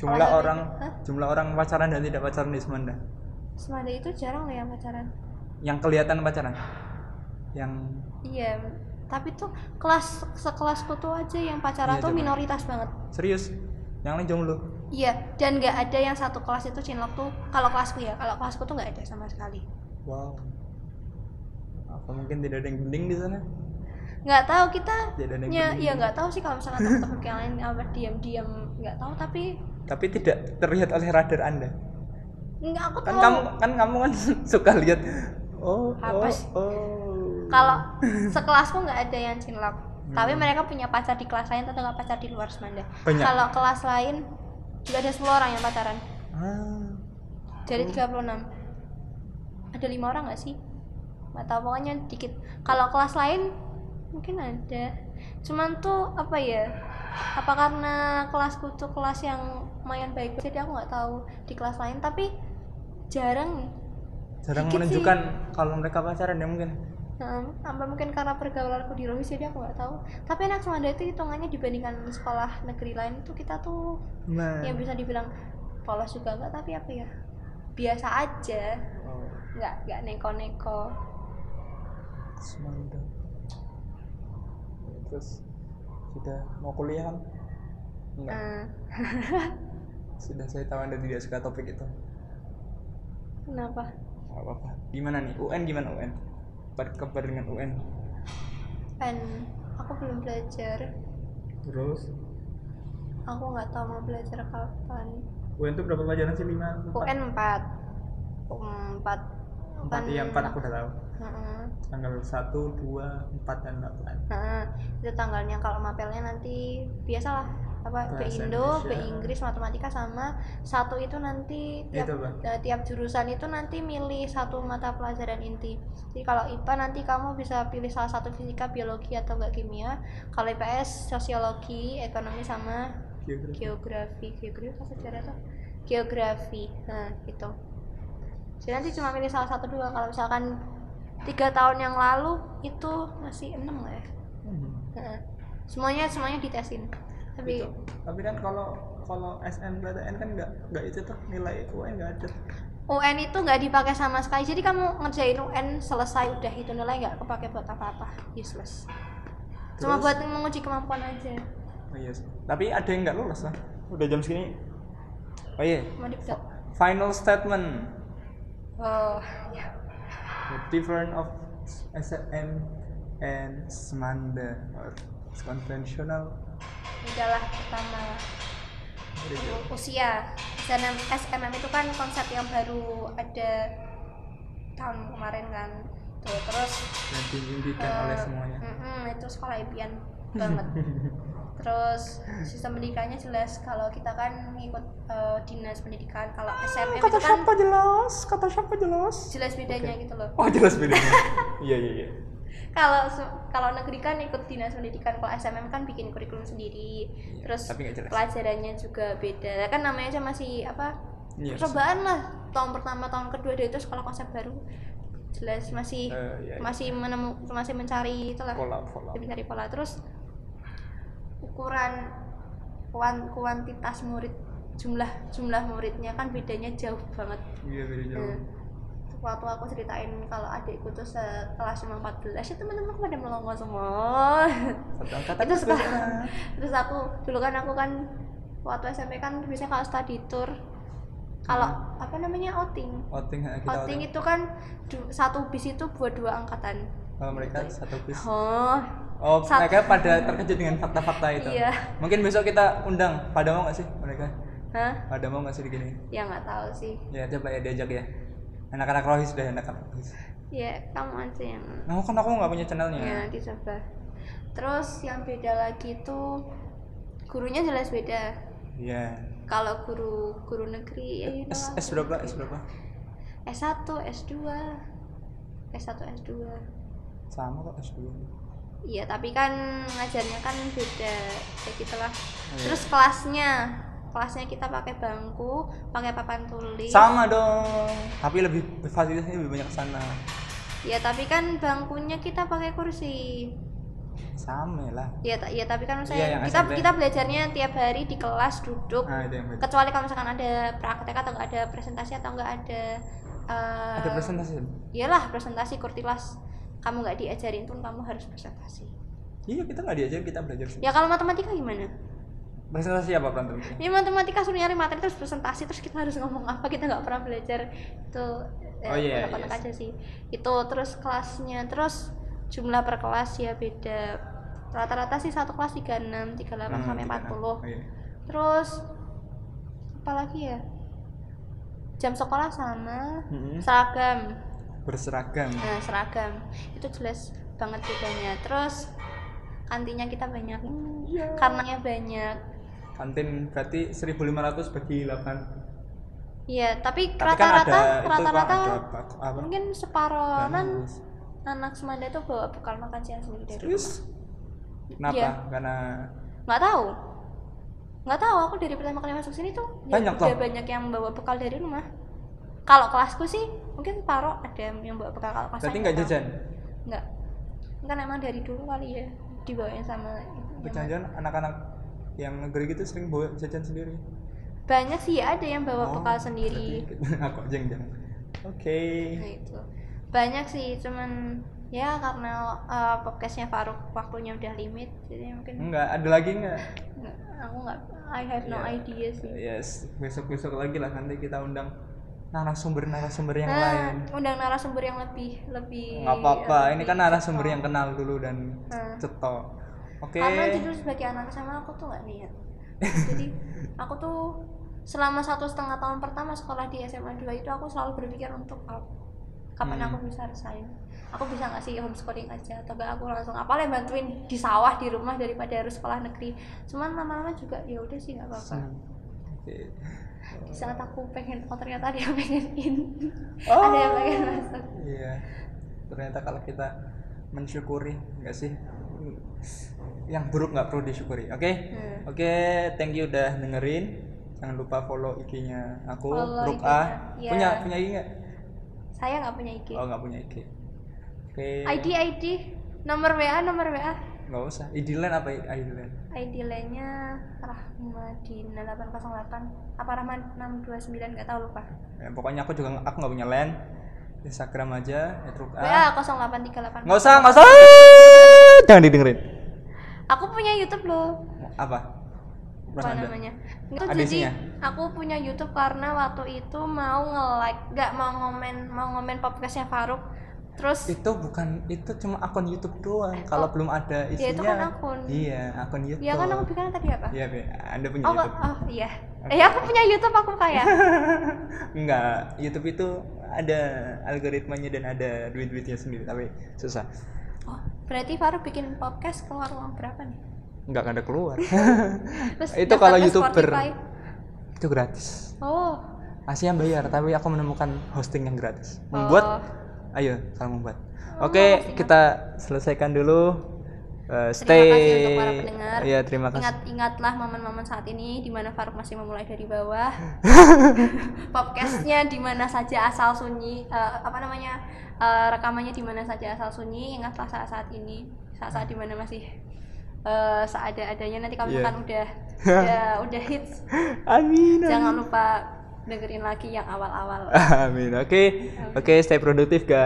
[SPEAKER 1] jumlah
[SPEAKER 2] Kalau saya-
[SPEAKER 1] orang
[SPEAKER 2] Hah?
[SPEAKER 1] jumlah orang pacaran dan tidak pacaran di Semanda
[SPEAKER 2] semanda itu jarang loh yang pacaran
[SPEAKER 1] yang kelihatan pacaran yang
[SPEAKER 2] iya tapi tuh kelas sekelasku tuh aja yang pacaran
[SPEAKER 1] Iya,
[SPEAKER 2] tuh
[SPEAKER 1] zaman-
[SPEAKER 2] minoritas banget
[SPEAKER 1] serius yang lain jomblo
[SPEAKER 2] Iya, dan nggak ada yang satu kelas itu cinlok tuh kalau kelasku ya, kalau kelasku tuh nggak ada sama sekali.
[SPEAKER 1] wow apa mungkin tidak ada yang gending di sana
[SPEAKER 2] Nggak tahu kita
[SPEAKER 1] tidak ada yang gitu.
[SPEAKER 2] ya,
[SPEAKER 1] gending.
[SPEAKER 2] ya nggak tahu sih kalau misalkan teman-teman yang lain apa diam-diam nggak tahu tapi
[SPEAKER 1] tapi tidak terlihat oleh radar anda
[SPEAKER 2] nggak aku
[SPEAKER 1] kan
[SPEAKER 2] tahu.
[SPEAKER 1] kamu kan kamu kan suka lihat oh
[SPEAKER 2] Oh. Apa
[SPEAKER 1] oh
[SPEAKER 2] sih?
[SPEAKER 1] oh
[SPEAKER 2] Kalau sekelasku nggak ada yang cinlok, tapi
[SPEAKER 1] Hmm.
[SPEAKER 2] mereka punya pacar di kelas lain atau nggak pacar di luar semanda.
[SPEAKER 1] Banyak.
[SPEAKER 2] Kalau kelas lain nggak ada 10 orang yang pacaran,
[SPEAKER 1] Ah,
[SPEAKER 2] dari 36 ada lima orang nggak sih? Nggak tahu pokoknya dikit. Kalau kelas lain mungkin ada. Cuman tuh apa ya? Apa karena kelasku tuh kelas yang lumayan baik, jadi aku nggak tahu di kelas lain. Tapi jarang.
[SPEAKER 1] jarang
[SPEAKER 2] Dikit sih.
[SPEAKER 1] menunjukkan kalau mereka pacaran ya mungkin
[SPEAKER 2] Nah, apa mungkin karena pergaulanku di Rohis jadi aku nggak tahu. Tapi anak Semanda itu hitungannya dibandingkan sekolah negeri lain tuh kita tuh
[SPEAKER 1] nah
[SPEAKER 2] yang Ya, bisa dibilang polos juga nggak tapi apa ya biasa aja
[SPEAKER 1] oh,
[SPEAKER 2] nggak nggak neko-neko
[SPEAKER 1] Semanda. terus sudah mau kuliah kan enggak
[SPEAKER 2] Nah,
[SPEAKER 1] sudah saya tahu anda tidak suka topik itu
[SPEAKER 2] kenapa?
[SPEAKER 1] nggak apa-apa gimana nih UN gimana UN berkabar dengan UN
[SPEAKER 2] Kan aku belum belajar.
[SPEAKER 1] terus
[SPEAKER 2] Aku nggak tahu mau belajar kapan.
[SPEAKER 1] UN itu berapa pelajaran sih lima empat
[SPEAKER 2] UN 4. 4.
[SPEAKER 1] empat
[SPEAKER 2] Kan
[SPEAKER 1] iya empat aku udah tahu
[SPEAKER 2] Heeh.
[SPEAKER 1] tanggal satu dua empat dan delapan
[SPEAKER 2] Heeh. Nah, Itu tanggalnya kalau mapelnya nanti biasalah apa
[SPEAKER 1] Bahasa
[SPEAKER 2] B Indo, B
[SPEAKER 1] Indonesia.
[SPEAKER 2] Inggris, matematika sama satu itu nanti tiap
[SPEAKER 1] Itu apa?
[SPEAKER 2] eh, tiap jurusan itu nanti milih satu mata pelajaran inti. Jadi kalau IPA nanti kamu bisa pilih salah satu fisika, biologi atau enggak kimia. Kalau IPS sosiologi, ekonomi sama
[SPEAKER 1] geografi
[SPEAKER 2] geografi geografi apa sejarah tuh geografi nah gitu jadi nanti cuma milih salah satu dua kalau misalkan tiga tahun yang lalu itu masih enam nggak ya
[SPEAKER 1] Hmm.
[SPEAKER 2] Heeh. semuanya semuanya ditesin
[SPEAKER 1] Gitu.
[SPEAKER 2] tapi
[SPEAKER 1] tapi kan kalau kalau SNPTN kan nggak nggak itu tuh nilai UN nggak ada
[SPEAKER 2] UN itu nggak dipakai sama sekali jadi kamu ngerjain UN selesai udah itu nilai nggak kepake buat apa apa useless
[SPEAKER 1] Terus?
[SPEAKER 2] cuma buat menguji kemampuan aja
[SPEAKER 1] oh, iya sih. tapi ada yang nggak lulus lah udah jam segini oh iya
[SPEAKER 2] cuma dipecat
[SPEAKER 1] final statement
[SPEAKER 2] oh ya.
[SPEAKER 1] the difference of SN and Semanda or conventional
[SPEAKER 2] udahlah pertama usia SNM, SMM itu kan konsep yang baru ada tahun kemarin kan tuh terus
[SPEAKER 1] yang diimpikan
[SPEAKER 2] eh,
[SPEAKER 1] oleh semuanya
[SPEAKER 2] mm-mm, itu sekolah impian banget terus sistem pendidikannya jelas kalau kita kan ngikut eh, dinas pendidikan kalau SMM itu kan
[SPEAKER 1] jelas kata siapa jelas
[SPEAKER 2] jelas bedanya gitu loh
[SPEAKER 1] oh jelas bedanya iya iya iya
[SPEAKER 2] kalau se- kalau negeri kan ikut dinas pendidikan kalau SMM kan bikin kurikulum sendiri
[SPEAKER 1] Iya,
[SPEAKER 2] terus
[SPEAKER 1] tapi nggak jelas.
[SPEAKER 2] pelajarannya juga beda kan namanya aja masih apa
[SPEAKER 1] Iya,
[SPEAKER 2] percobaan lah tahun pertama tahun kedua dia itu sekolah konsep baru jelas masih
[SPEAKER 1] Eh, iya, iya.
[SPEAKER 2] masih menemu masih mencari itulah
[SPEAKER 1] pola pola
[SPEAKER 2] masih mencari pola terus ukuran kuan- kuantitas murid jumlah jumlah muridnya kan bedanya jauh banget
[SPEAKER 1] iya beda jauh
[SPEAKER 2] Hmm. waktu aku ceritain kalau adikku tuh sekelas cuma 14 ya teman-teman pada melongo semua
[SPEAKER 1] satu angkatan gitu.
[SPEAKER 2] Itu suka.
[SPEAKER 1] sebenarnya.
[SPEAKER 2] terus aku dulu kan aku kan waktu SMP kan biasanya kalau study tour kalau
[SPEAKER 1] Hmm.
[SPEAKER 2] apa namanya outing
[SPEAKER 1] outing ha, eh, kita
[SPEAKER 2] outing itu kan du- satu bis itu buat dua angkatan
[SPEAKER 1] Oh, mereka satu bis
[SPEAKER 2] oh
[SPEAKER 1] oh
[SPEAKER 2] Sat-
[SPEAKER 1] mereka pada terkejut dengan fakta-fakta itu
[SPEAKER 2] Iya.
[SPEAKER 1] mungkin besok kita undang pada mau nggak sih mereka
[SPEAKER 2] hah
[SPEAKER 1] pada mau nggak sih digini
[SPEAKER 2] ya nggak tahu sih
[SPEAKER 1] ya coba ya diajak ya anak-anak rohis deh anak-anak rohis
[SPEAKER 2] ya kamu aja yang
[SPEAKER 1] nah kan aku nggak punya channelnya
[SPEAKER 2] ya nanti coba terus yang beda lagi tuh gurunya jelas beda
[SPEAKER 1] Iya.
[SPEAKER 2] kalau guru guru negeri ya you know
[SPEAKER 1] S,
[SPEAKER 2] lah.
[SPEAKER 1] S berapa? S berapa?
[SPEAKER 2] S1 S2 S1 S2
[SPEAKER 1] Sama kok S2.
[SPEAKER 2] Iya, tapi kan ngajarnya kan beda kayak gitulah.
[SPEAKER 1] Oh, iya.
[SPEAKER 2] Terus kelasnya, kelasnya kita pakai bangku, pakai papan tulis.
[SPEAKER 1] sama dong tapi lebih fasilitasnya lebih banyak ke sana
[SPEAKER 2] Ya, tapi kan bangkunya kita pakai kursi.
[SPEAKER 1] sama lah
[SPEAKER 2] Ya, ta- ya tapi kan
[SPEAKER 1] Iya,
[SPEAKER 2] saya
[SPEAKER 1] yang
[SPEAKER 2] kita
[SPEAKER 1] SMP.
[SPEAKER 2] kita belajarnya tiap hari di kelas duduk.
[SPEAKER 1] nah itu yang beda
[SPEAKER 2] Kecuali kalau misalkan ada praktek atau nggak ada presentasi atau nggak ada eh,
[SPEAKER 1] ada presentasi
[SPEAKER 2] Iyalah presentasi kurtilas. Kamu nggak diajarin pun kamu harus presentasi.
[SPEAKER 1] iya kita nggak diajarin kita belajar sendiri
[SPEAKER 2] Ya kalau matematika gimana?
[SPEAKER 1] presentasi apa berantem
[SPEAKER 2] Ya matematika suruh nyari materi terus presentasi terus kita harus ngomong apa kita nggak pernah belajar itu eh,
[SPEAKER 1] Oh, iya,
[SPEAKER 2] kotak-kotak
[SPEAKER 1] iya
[SPEAKER 2] aja sih itu terus kelasnya terus jumlah per kelas ya beda rata-rata sih satu kelas 36,
[SPEAKER 1] Hmm,
[SPEAKER 2] 38
[SPEAKER 1] iya.
[SPEAKER 2] sampai
[SPEAKER 1] Oh,
[SPEAKER 2] 40 terus apalagi ya jam sekolah sama seragam
[SPEAKER 1] Hmm, berseragam
[SPEAKER 2] nah seragam itu jelas banget bedanya terus kantinya kita banyak
[SPEAKER 1] Iya.
[SPEAKER 2] karenanya banyak
[SPEAKER 1] kantin berarti 1500 bagi 8
[SPEAKER 2] Iya, tapi
[SPEAKER 1] tapi kan ada itu
[SPEAKER 2] rata-rata
[SPEAKER 1] kok ada
[SPEAKER 2] rata-rata
[SPEAKER 1] Kan. apa, apa Nah,
[SPEAKER 2] mungkin separonan
[SPEAKER 1] Bagus.
[SPEAKER 2] anak Semanda itu bawa bekal makan siang sendiri dari
[SPEAKER 1] terus kenapa
[SPEAKER 2] Iya.
[SPEAKER 1] karena
[SPEAKER 2] rumah. Nggak tahu. Nggak tahu aku dari pertama kali masuk sini tuh ya
[SPEAKER 1] Banyak
[SPEAKER 2] udah
[SPEAKER 1] toh.
[SPEAKER 2] banyak yang bawa bekal dari rumah. Kalau kelasku sih mungkin separoh ada yang bawa bekal kalau kelas
[SPEAKER 1] berarti
[SPEAKER 2] saya
[SPEAKER 1] nggak
[SPEAKER 2] nggak tahu.
[SPEAKER 1] jajan
[SPEAKER 2] Nggak. Kan emang dari dulu kali ya dibawain sama itu.
[SPEAKER 1] jajan anak-anak yang negeri gitu sering bawa jajan sendiri
[SPEAKER 2] Banyak sih ya ada yang bawa
[SPEAKER 1] Oh,
[SPEAKER 2] bekal sendiri.
[SPEAKER 1] berarti- aku jeng jeng oke
[SPEAKER 2] Nah, itu banyak sih cuman ya karena eh, podcastnya Faruk waktunya udah limit jadi mungkin
[SPEAKER 1] enggak ada lagi enggak
[SPEAKER 2] nggak- aku nggak I have no
[SPEAKER 1] Iya.
[SPEAKER 2] idea sih
[SPEAKER 1] yes besok besok lagi lah nanti kita undang narasumber narasumber yang
[SPEAKER 2] nah
[SPEAKER 1] lain
[SPEAKER 2] undang narasumber yang lebih lebih
[SPEAKER 1] nggak apa-apa ini kan
[SPEAKER 2] lebih
[SPEAKER 1] narasumber
[SPEAKER 2] cetok.
[SPEAKER 1] yang kenal dulu dan
[SPEAKER 2] Nah,
[SPEAKER 1] cetok oke
[SPEAKER 2] iya. karena jujur sebagai anak sama aku tuh nggak niat jadi aku tuh selama satu setengah tahun pertama sekolah di SMA 2 itu aku selalu berpikir untuk apa kapan
[SPEAKER 1] Hmm.
[SPEAKER 2] aku bisa resign aku bisa nggak sih homeschooling aja atau nggak aku langsung apa lah bantuin di sawah di rumah daripada harus sekolah negeri cuman lama-lama juga ya udah sih nggak apa-apa
[SPEAKER 1] Hmm. Oke.
[SPEAKER 2] di saat aku pengen oh ternyata ada yang pengen in
[SPEAKER 1] Oh.
[SPEAKER 2] ada yang pengen masuk
[SPEAKER 1] Iya. Ternyata kalau kita mensyukuri, enggak sih? Yang buruk nggak perlu disyukuri. Oke.
[SPEAKER 2] Hmm.
[SPEAKER 1] Oke, thank you udah dengerin. Jangan lupa follow IG-nya aku,
[SPEAKER 2] Follow
[SPEAKER 1] Bruk A.
[SPEAKER 2] IG-nya. Iya.
[SPEAKER 1] Punya punya IG nggak?
[SPEAKER 2] saya nggak punya IG
[SPEAKER 1] Oh, nggak punya IG. Oke.
[SPEAKER 2] ID ID nomor WA nomor WA
[SPEAKER 1] Nggak usah. ID line apa ID line?
[SPEAKER 2] ID lainnya Rahmadina 808 apa Rahman 629 nggak tahu lupa
[SPEAKER 1] Ya, pokoknya aku juga aku nggak punya line. Instagram aja, ya, Bruk A.
[SPEAKER 2] WA 0838
[SPEAKER 1] Nggak usah, nggak usah. Ah, Jangan didengerin.
[SPEAKER 2] aku punya YouTube loh
[SPEAKER 1] Apa?
[SPEAKER 2] apa
[SPEAKER 1] Anda.
[SPEAKER 2] namanya itu
[SPEAKER 1] Ada
[SPEAKER 2] jadi
[SPEAKER 1] isinya?
[SPEAKER 2] aku punya YouTube karena waktu itu mau nge-like nggak mau ngomen mau ngomen podcastnya Faruk terus
[SPEAKER 1] itu bukan itu cuma akun YouTube doang kalau
[SPEAKER 2] oh.
[SPEAKER 1] belum ada isinya
[SPEAKER 2] Ya, itu kan akun.
[SPEAKER 1] iya akun YouTube
[SPEAKER 2] ya kan aku bilang tadi apa
[SPEAKER 1] Iya, Be. anda punya
[SPEAKER 2] oh,
[SPEAKER 1] YouTube
[SPEAKER 2] oh iya eh aku punya YouTube aku kayak
[SPEAKER 1] enggak YouTube itu ada algoritmanya dan ada duit duitnya sendiri tapi susah
[SPEAKER 2] oh berarti Faruk bikin podcast keluar uang berapa nih
[SPEAKER 1] enggak ada keluar
[SPEAKER 2] terus
[SPEAKER 1] Itu kalau
[SPEAKER 2] daftar ke
[SPEAKER 1] YouTuber.
[SPEAKER 2] Spotify.
[SPEAKER 1] itu gratis
[SPEAKER 2] oh
[SPEAKER 1] Asia bayar tapi aku menemukan hosting yang gratis membuat
[SPEAKER 2] Oh.
[SPEAKER 1] ayo kalau membuat
[SPEAKER 2] Oh,
[SPEAKER 1] oke
[SPEAKER 2] hosting
[SPEAKER 1] kita selesaikan dulu Eh,
[SPEAKER 2] Terima
[SPEAKER 1] stay
[SPEAKER 2] kasih untuk para pendengar.
[SPEAKER 1] Iya, terima kasih
[SPEAKER 2] Ingat ingatlah momen-momen saat ini di mana Faruk masih memulai dari bawah. Podcastnya di mana saja asal sunyi, eh, apa namanya eh, rekamannya di mana saja asal sunyi. Ingatlah saat-saat ini, saat-saat di mana masih eh, seada-adanya. Nanti kamu
[SPEAKER 1] Iya.
[SPEAKER 2] kan udah udah udah hits.
[SPEAKER 1] amin
[SPEAKER 2] Jangan lupa dengerin lagi yang awal-awal.
[SPEAKER 1] amin oke oke stay produktif guys